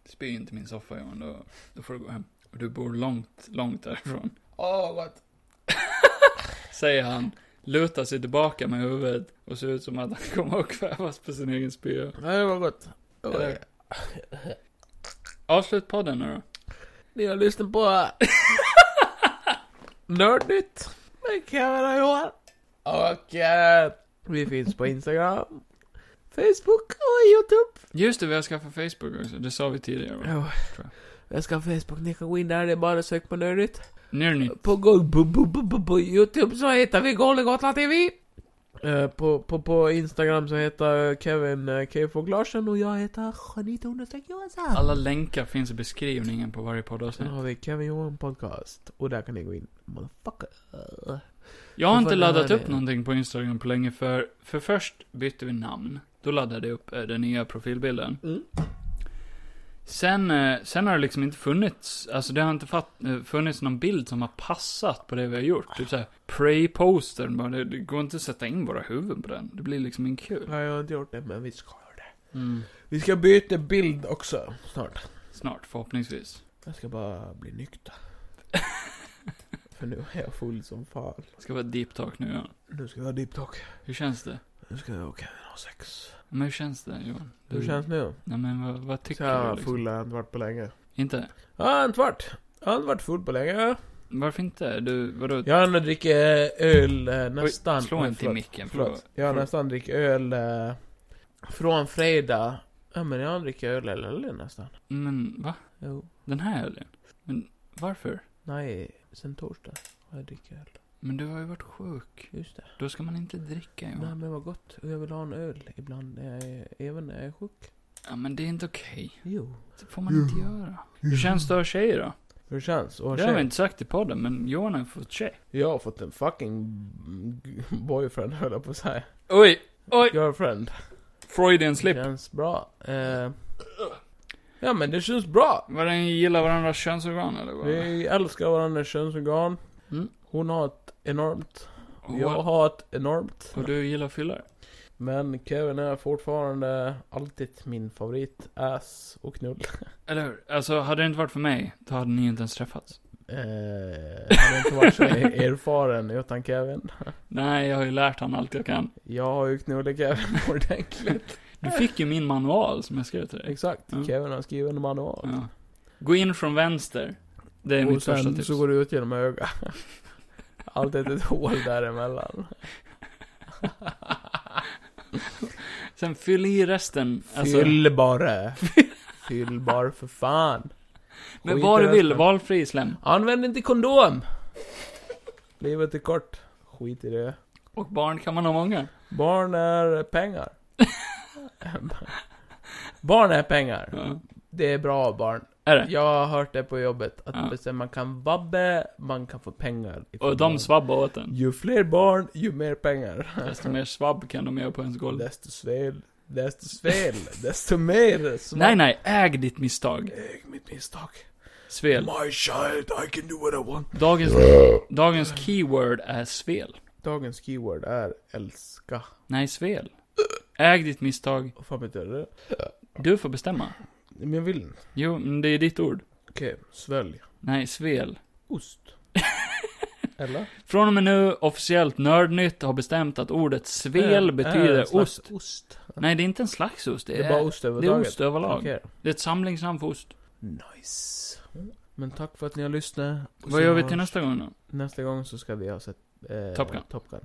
Spy inte min soffa Johan, då, då får du gå hem. Och du bor långt, långt därifrån.
Åh, vad...
Säger han, lutar sig tillbaka med huvudet och ser ut som att han kommer att kvävas på sin egen spya.
Nej, det var gott.
Oj. Avslut podden nu då.
Ni har lyssnat på... Nördnytt med Kevin och Johan. Och eh, vi finns på Instagram, Facebook och YouTube.
Just det, vi har skaffat Facebook också. Det sa vi tidigare va?
Ja. Jag ska ha Facebook, ni kan gå in där, det är bara sök på Nördnytt.
Nirny.
På, go- bu- bu- bu- bu- på YouTube så heter vi Golgotland TV. Eh, På, på, på Instagram så heter Kevin eh, Kfog Larsen och jag heter Janita understreck Johansson.
Alla länkar finns i beskrivningen på varje
Sen
poddavsnitt.
har vi Kevin Johan Podcast och där kan ni gå in. Motherfucker.
Jag har
Men
inte
vad är
laddat
det?
upp någonting på Instagram på länge för, för först bytte vi namn. Då laddade jag upp eh, den nya profilbilden.
Mm.
Sen, eh, sen har det liksom inte funnits, alltså det har inte fatt, eh, funnits någon bild som har passat på det vi har gjort. Typ såhär, pray-postern bara, det, det går inte att sätta in våra huvuden på den. Det blir liksom inte kul.
Nej, jag har inte gjort det, men vi ska göra det.
Mm.
Vi ska byta bild också snart.
Snart, förhoppningsvis.
Jag ska bara bli nykter. För nu är jag full som fan.
Det ska vara deep talk nu ja.
Nu ska jag ha deep talk.
Hur känns det?
Nu ska jag och Kevin ha sex.
Men hur känns det Johan?
Hur känns det nu?
Nej men vad, vad
Så
tycker du?
jag
Liksom?
full har jag inte varit på länge.
Inte?
Jag har inte varit. Jag har inte varit full på länge.
Varför inte? Du, vadå?
Jag har ändå drickit eh, öl eh, nästan...
Oj, slå
Oj,
inte i
förlåt,
micken,
Förlåt.
förlåt.
Jag har
Förlåt.
nästan drickit öl eh, från fredag Ja men jag dricker öl eller öl nästan.
Men va?
Jo.
Den här ölen? Men varför?
Nej, sen torsdag har jag dricker öl.
Men du har ju varit sjuk.
Just det.
Då ska man inte dricka
Nej
Johan.
men vad gott. Och jag vill ha en öl ibland, när jag är, även när jag är sjuk.
Ja men det är inte okej.
Jo.
Det får man inte göra. Hur känns det att ha tjej då?
Hur det känns? Och
Det har vi inte sagt i podden, men Johan har fått tjej.
Jag har fått en fucking boyfriend höll jag på att säga.
Oj! Oj!
Girlfriend.
Freudian slip.
Känns bra. Eh, ja men det känns bra.
Vad den gillar varandras könsorgan eller vad?
Vi älskar varandras könsorgan.
Mm.
Hon har ett enormt.
Och-
Jag har ett enormt.
Och du gillar fyllare?
Men Kevin är fortfarande alltid min favorit. Ass och knull.
Eller hur? Alltså, hade det inte varit för mig, då hade ni inte ens träffats.
Eh, han har inte varit så erfaren utan Kevin.
Nej, jag har ju lärt han allt jag kan.
Jag har ju knullat Kevin ordentligt.
Du fick ju min manual som jag skrev till dig.
Exakt.
Mm.
Kevin har skrivit en manual.
Ja. Gå in från vänster. Det är
Och
mitt första
sen
tips.
så går du ut genom ögat. Alltid ett hål däremellan.
Sen fyll i resten. Alltså,
Fyll bara. Fyll bara för fan.
men
skit
vad
i
du vill,
resten.
valfri slem.
Använd inte kondom! Livet är kort. Skit i det.
Och barn kan man ha många.
Barn är pengar. barn är pengar.
Ja.
Det är bra barn.
Är det?
Jag har hört det på jobbet. Att
Ja.
bestämma, man kan vabbe, man kan få pengar. ifrån
Och
barn.
de svabbar åt en.
Ju fler barn, ju mer pengar.
Desto mer svabb kan de göra på ens golv.
Desto fel, desto fel, desto mer. svart.
Nej, nej, äg ditt misstag.
Äg mitt misstag.
Svel.
My child, I can do what I want.
Dagens, dagens keyword är svel.
Dagens keyword är älska.
Nej, svel. Äg ditt misstag.
Vad fan betyder det?
Du får bestämma.
Men jag vill inte.
Jo, men det är ditt ord.
Okej, svälj.
Nej, svel.
Ost. Eller?
Från och med nu, officiellt Nördnytt har bestämt att ordet svel
Är- är en
betyder
slags
ost.
ost.
Nej, det är inte en slags ost. Det
Det
är,
är bara ost
det är
överhuvudtaget.
ost överlag.
Okej.
Det är ett samlingsnamn för ost.
Nice. Men tack för att ni har lyssnat. Och
Vad
så
gör vi
hörs-
till nästa gång då?
Nästa gång så ska vi ha sett eh,
Top Gun.
Top Gun.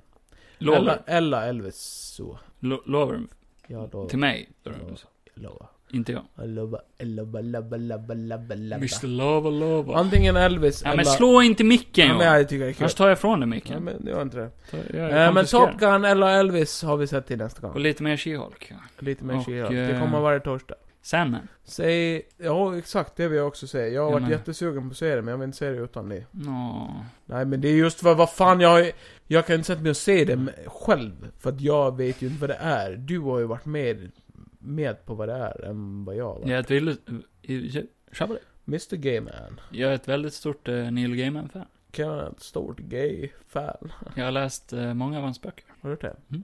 Eller,
Lovar.
eller Elvis så.
Lo- Lovar.
Jag lovar.
Till mig. då.
Ja. Jag lovar.
Inte jag.
Jag lovar. Jag lovar, lovar, lovar, lovar, lovar.
Mr Lova Lova.
Antingen Elvis
Ja,
eller...
men slå inte micken
Ja, men
Johan.
jag tycker det är kul.
Annars tar jag ifrån dig
Ja,
micken.
men det var inte det.
Ta- jag
Eh, men
konfiskerar.
Top Gun eller Elvis har vi sett till nästa
Och
gång.
lite mer She-Hulk. eh, ja.
Lite mer
och,
She-Hulk.
eh,
Det kommer varje torsdag.
Sandman.
Säg... Ja, exakt. Det vill jag också säga. Jag har
Ja,
varit
men-
jättesugen på att se det, men jag vill inte se det utan dig.
Nå.
Nej, men det är just vad, vad fan jag... har- Jag kan inte sätta mig och se
Mm.
det med- själv. För att jag vet ju inte vad det är. Du har ju varit med, med på vad det är, än vad jag har varit.
Jag är ett väldigt... Shabba
Mr Gayman.
Jag är ett väldigt stort eh, Neil Gaiman-fan.
Kan jag vara ett stort gay-fan?
Jag har läst eh, många av hans böcker.
Har du hört det?
Mm.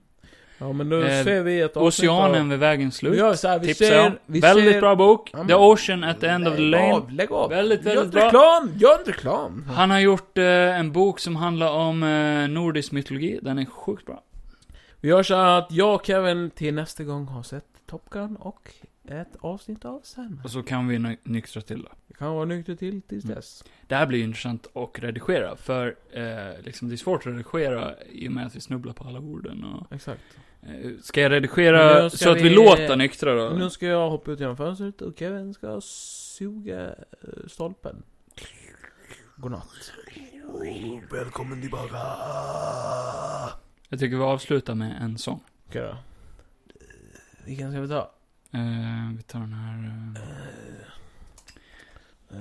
Ja, men då
Eh,
ser vi ett avsnitt
Oceanen
av...
vid vägens
Vi
slut.
gör så här, vi
Tipsar
ser...
jag.
Vi
Väldigt
ser,
bra bok.
Ja, men-
The Ocean at the End of the
Lägg
Lane.
av, lägg av!
Väldigt,
gör
väldigt
inte
bra.
reklam! Gör inte reklam!
Han har gjort eh, en bok som handlar om eh, nordisk mytologi. Den är sjukt bra.
Vi gör så här att jag och Kevin till nästa gång har sett Top Gun och ett avsnitt av Sandman.
Och så kan vi ny- nyktra till då.
Vi kan vara nykter till tills dess.
Det här blir ju intressant att redigera, för eh, liksom det är svårt att redigera i och med att vi snubblar på alla orden och...
Exakt.
Eh, ska jag redigera
Nu ska
så att vi,
vi-
låter nyktra då?
Nu ska jag hoppa ut genom fönstret och Kevin ska suga eh, stolpen. Godnatt. Välkommen tillbaka.
Jag tycker vi avslutar med en sång.
Okej då. Vilken ska vi ta?
Eh, vi tar den här... Eh,
Eh,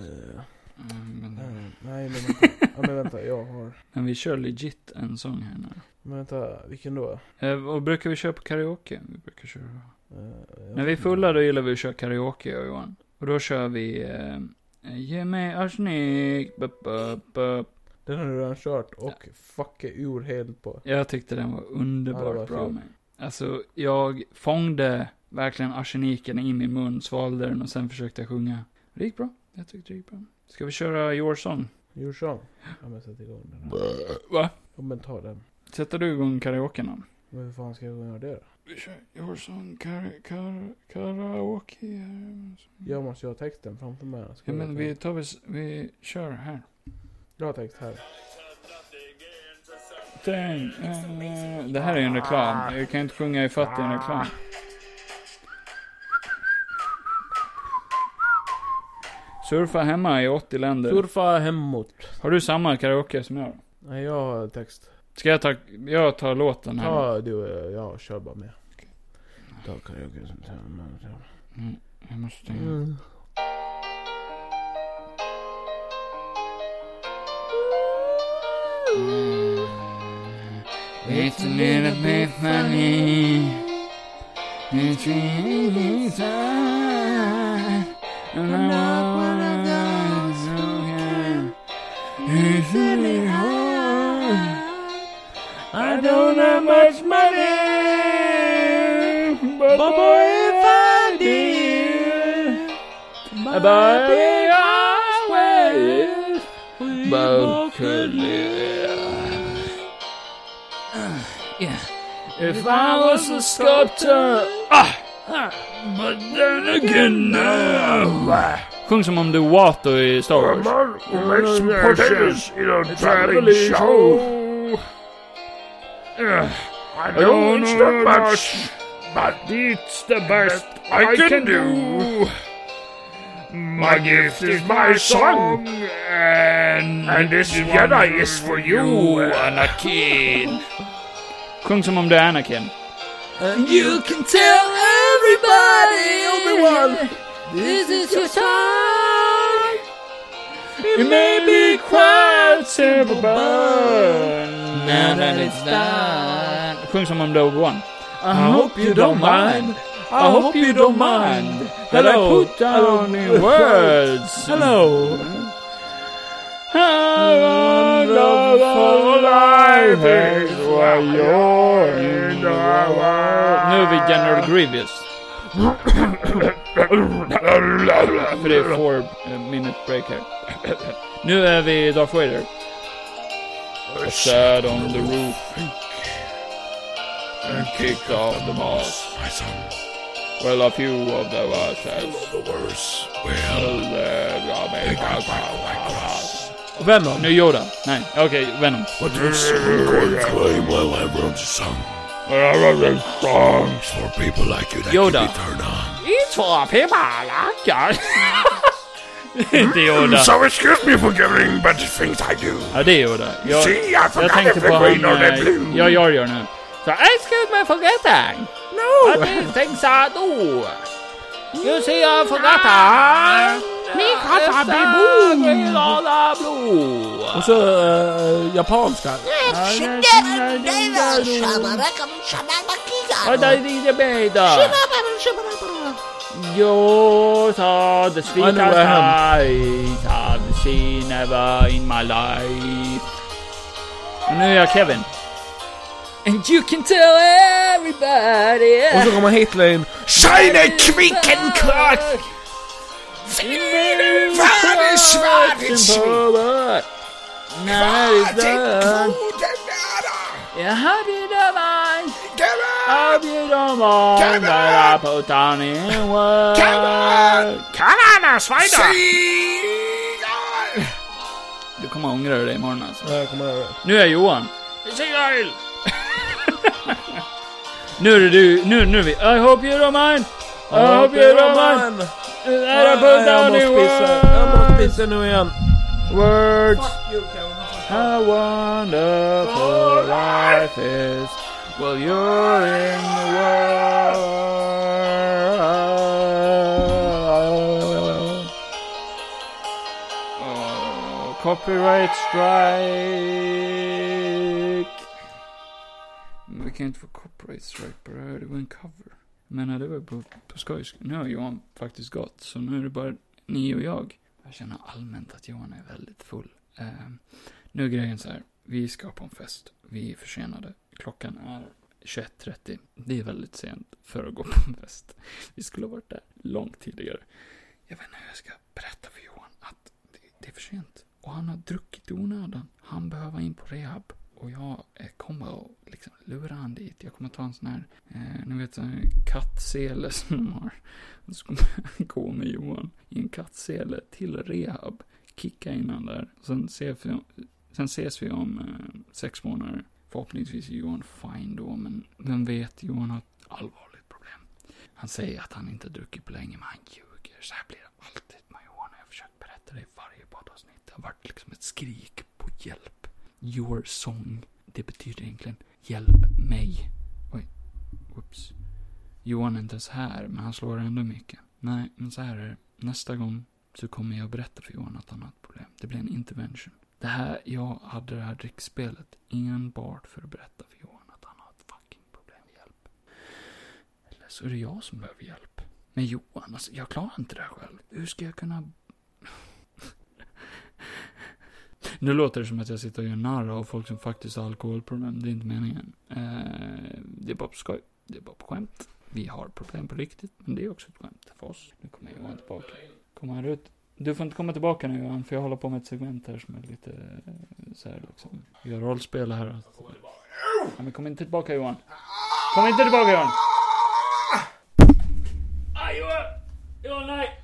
mm, men-
nej, nej, men vänta. Ja, men vänta, jag har...
Men vi kör legit en sång här nu.
Men vänta, vilken då?
Eh, vad brukar vi köra på karaoke? Vi brukar köra...
Eh, jag-
När vi är fulla då gillar vi att köra karaoke, jag och Johan. Och då kör vi... Eh, Ge mig arsenik, bup, bup, bup.
Den har du redan kört och fucka ur helt på.
Jag tyckte den var underbart
Ja, det var
bra
kul.
med. Alltså, jag fångde verkligen arseniken i min mun, svalde den och sen försökte jag sjunga. Det gick bra. Jag tyckte det gick bra. Ska vi köra Your Song?
Your song. Ja men sätt igång den. här.
Va?
Ja men ta den.
Sätter du igång karaoken då?
Men hur fan ska jag göra det då?
Vi kör Your Song kar, kar, karaoke. här.
Jag måste ju ha texten framför mig. Ska jag
Ja, men
ta
vi
den?
tar vi, s- vi kör här.
Jag har text här.
Dang, eh, det här är ju en reklam. Jag kan inte sjunga i fatt i en reklam. Surfa hemma i 80 länder.
Surfa hemåt.
Har du samma karaoke som jag?
Nej, jag har text.
Ska jag ta, jag tar låten här?
Ja, du, eh, jag kör bara med. Ta karaoke som tar-
Mm, jag måste stänga.
Mm.
It's a little bit funny. It's really sad. And I wanna dance again. It's really hard. I don't have much money. But boy, if I did, about the highway, we both could live. Yeah. If I was a sculptor, ah, ah, but then again, uh, no. Sjung som om du är Watto i Star Wars.
We'll make some potatoes in a traveling show. I know it's not much, but it's the best I can do. My gift is my song, and, and this Jedi is for you, Anakin.
Sjung som om du är Anakin.
You can tell everybody, Obi-Wan, this is your song.
It may be quite simple, but now that it's done. Sjung som om du är Obi-Wan. I hope you don't mind. I hope you don't mind that I put down in words.
Hello!
How wonderful life is while you're in the world. Nu är vi General Grievous. För det är four eh, minute break här. Nu är vi Darth Vader. I sat on the roof and kicked off the mask.
My son,
Well, a few of the ashes.
the worst. Well,
Venom.
Nu Yoda. Nej, okej, Venom.
but this I'm going to claim while I wrote the song. It's for people like you that
Yoda.
can be turned on.
It's for people like you. Det är inte Yoda.
So excuse me for giving but the things I do.
Ja, det är Yoda. Jag,
See, I
jag
forgot
tänkte
if the
på han...
green or the
eh,
blue.
Jag gör gör nu. Så, excuse me for getting. No! What is things I do? You see, I forgot that. Me kata bibu. Green or the blue.
Och så eh, japanska.
Vad är det med då? Jag sa det
I know
sweetest
where I
eyes I've seen ever in my life. Och nu är jag Kevin. And you can tell everybody.
Och så kommer Hitler in.
Seine Quicken Clock! Färdig
Sin
Schwarzen!
power. När är det? Jag hörde det var. Jag bjöd om om.
Kevin!
Bara på tanning.
Kevin!
Kananas fighter!
Siegel!
Du kommer ångra dig imorgon alltså.
Ja, jag kommer över.
Nu är Johan. Signal! nu är det du, nu, nu är vi. I hope you don't mind. I hope you don't mind. Nära
Nej, Jag
puntan i
måste pissa. Jag måste pissa nu igen.
words. How wonderful life is. Well, you're in the world. Oh, copyright strike. Men vi kan inte få copyright strike på det här, det var en cover. Men det var på, på skoj. Nu har Johan faktiskt gått, så nu är det bara ni och jag. Jag känner allmänt att Johan är väldigt full. Ehm, nu är grejen så här. Vi ska på en fest. Vi är försenade. Klockan är 21.30. Det är väldigt sent för att gå på en fest. Vi skulle ha varit där långt tidigare. Jag vet inte hur jag ska berätta för Johan att det, det är för sent. Och han har druckit i onödan. Han behöver in på rehab. Och jag eh, kommer att liksom lura han dit. Jag kommer ta en sån här, eh, ni vet, sån här kattsele som de har. Och så kommer jag gå med Johan i en kattsele till rehab kicka in han där. Sen, ser vi, sen ses vi om eh, sex månader. Förhoppningsvis är Johan fine då, men vem vet, Johan har ett allvarligt problem. Han säger att han inte druckit på länge, men han ljuger. Så här blir det alltid med Johan när jag försöker berätta. efter det i varje poddavsnitt. Det har varit liksom ett skrik på hjälp. Your song. Det betyder egentligen hjälp mig. Oj. Whoops. Johan är inte ens här, men han slår ändå mycket. Nej, men så här är det. Nästa gång så kommer jag berätta för Johan att han har ett problem. Det blir en intervention. Det här, jag hade det här drickspelet enbart för att berätta för Johan att han har ett fucking problem. Hjälp. Eller så är det jag som behöver hjälp. Men Johan, alltså, jag klarar inte det här själv. Hur ska jag kunna... Nu låter det som att jag sitter och gör narr av folk som faktiskt har alkoholproblem. Det är inte meningen. Eh, det är bara på skoj. Det är bara på skämt. Vi har problem på riktigt, men det är också ett skämt för oss. Nu kommer Johan tillbaka. Kommer han ut? Du får inte komma tillbaka nu Johan, för jag håller på med ett segment här som är lite eh, så här liksom. Vi gör rollspel här. Alltså. Ja, men kom inte tillbaka Johan. Kom inte tillbaka Johan! Aj Johan! Johan nej!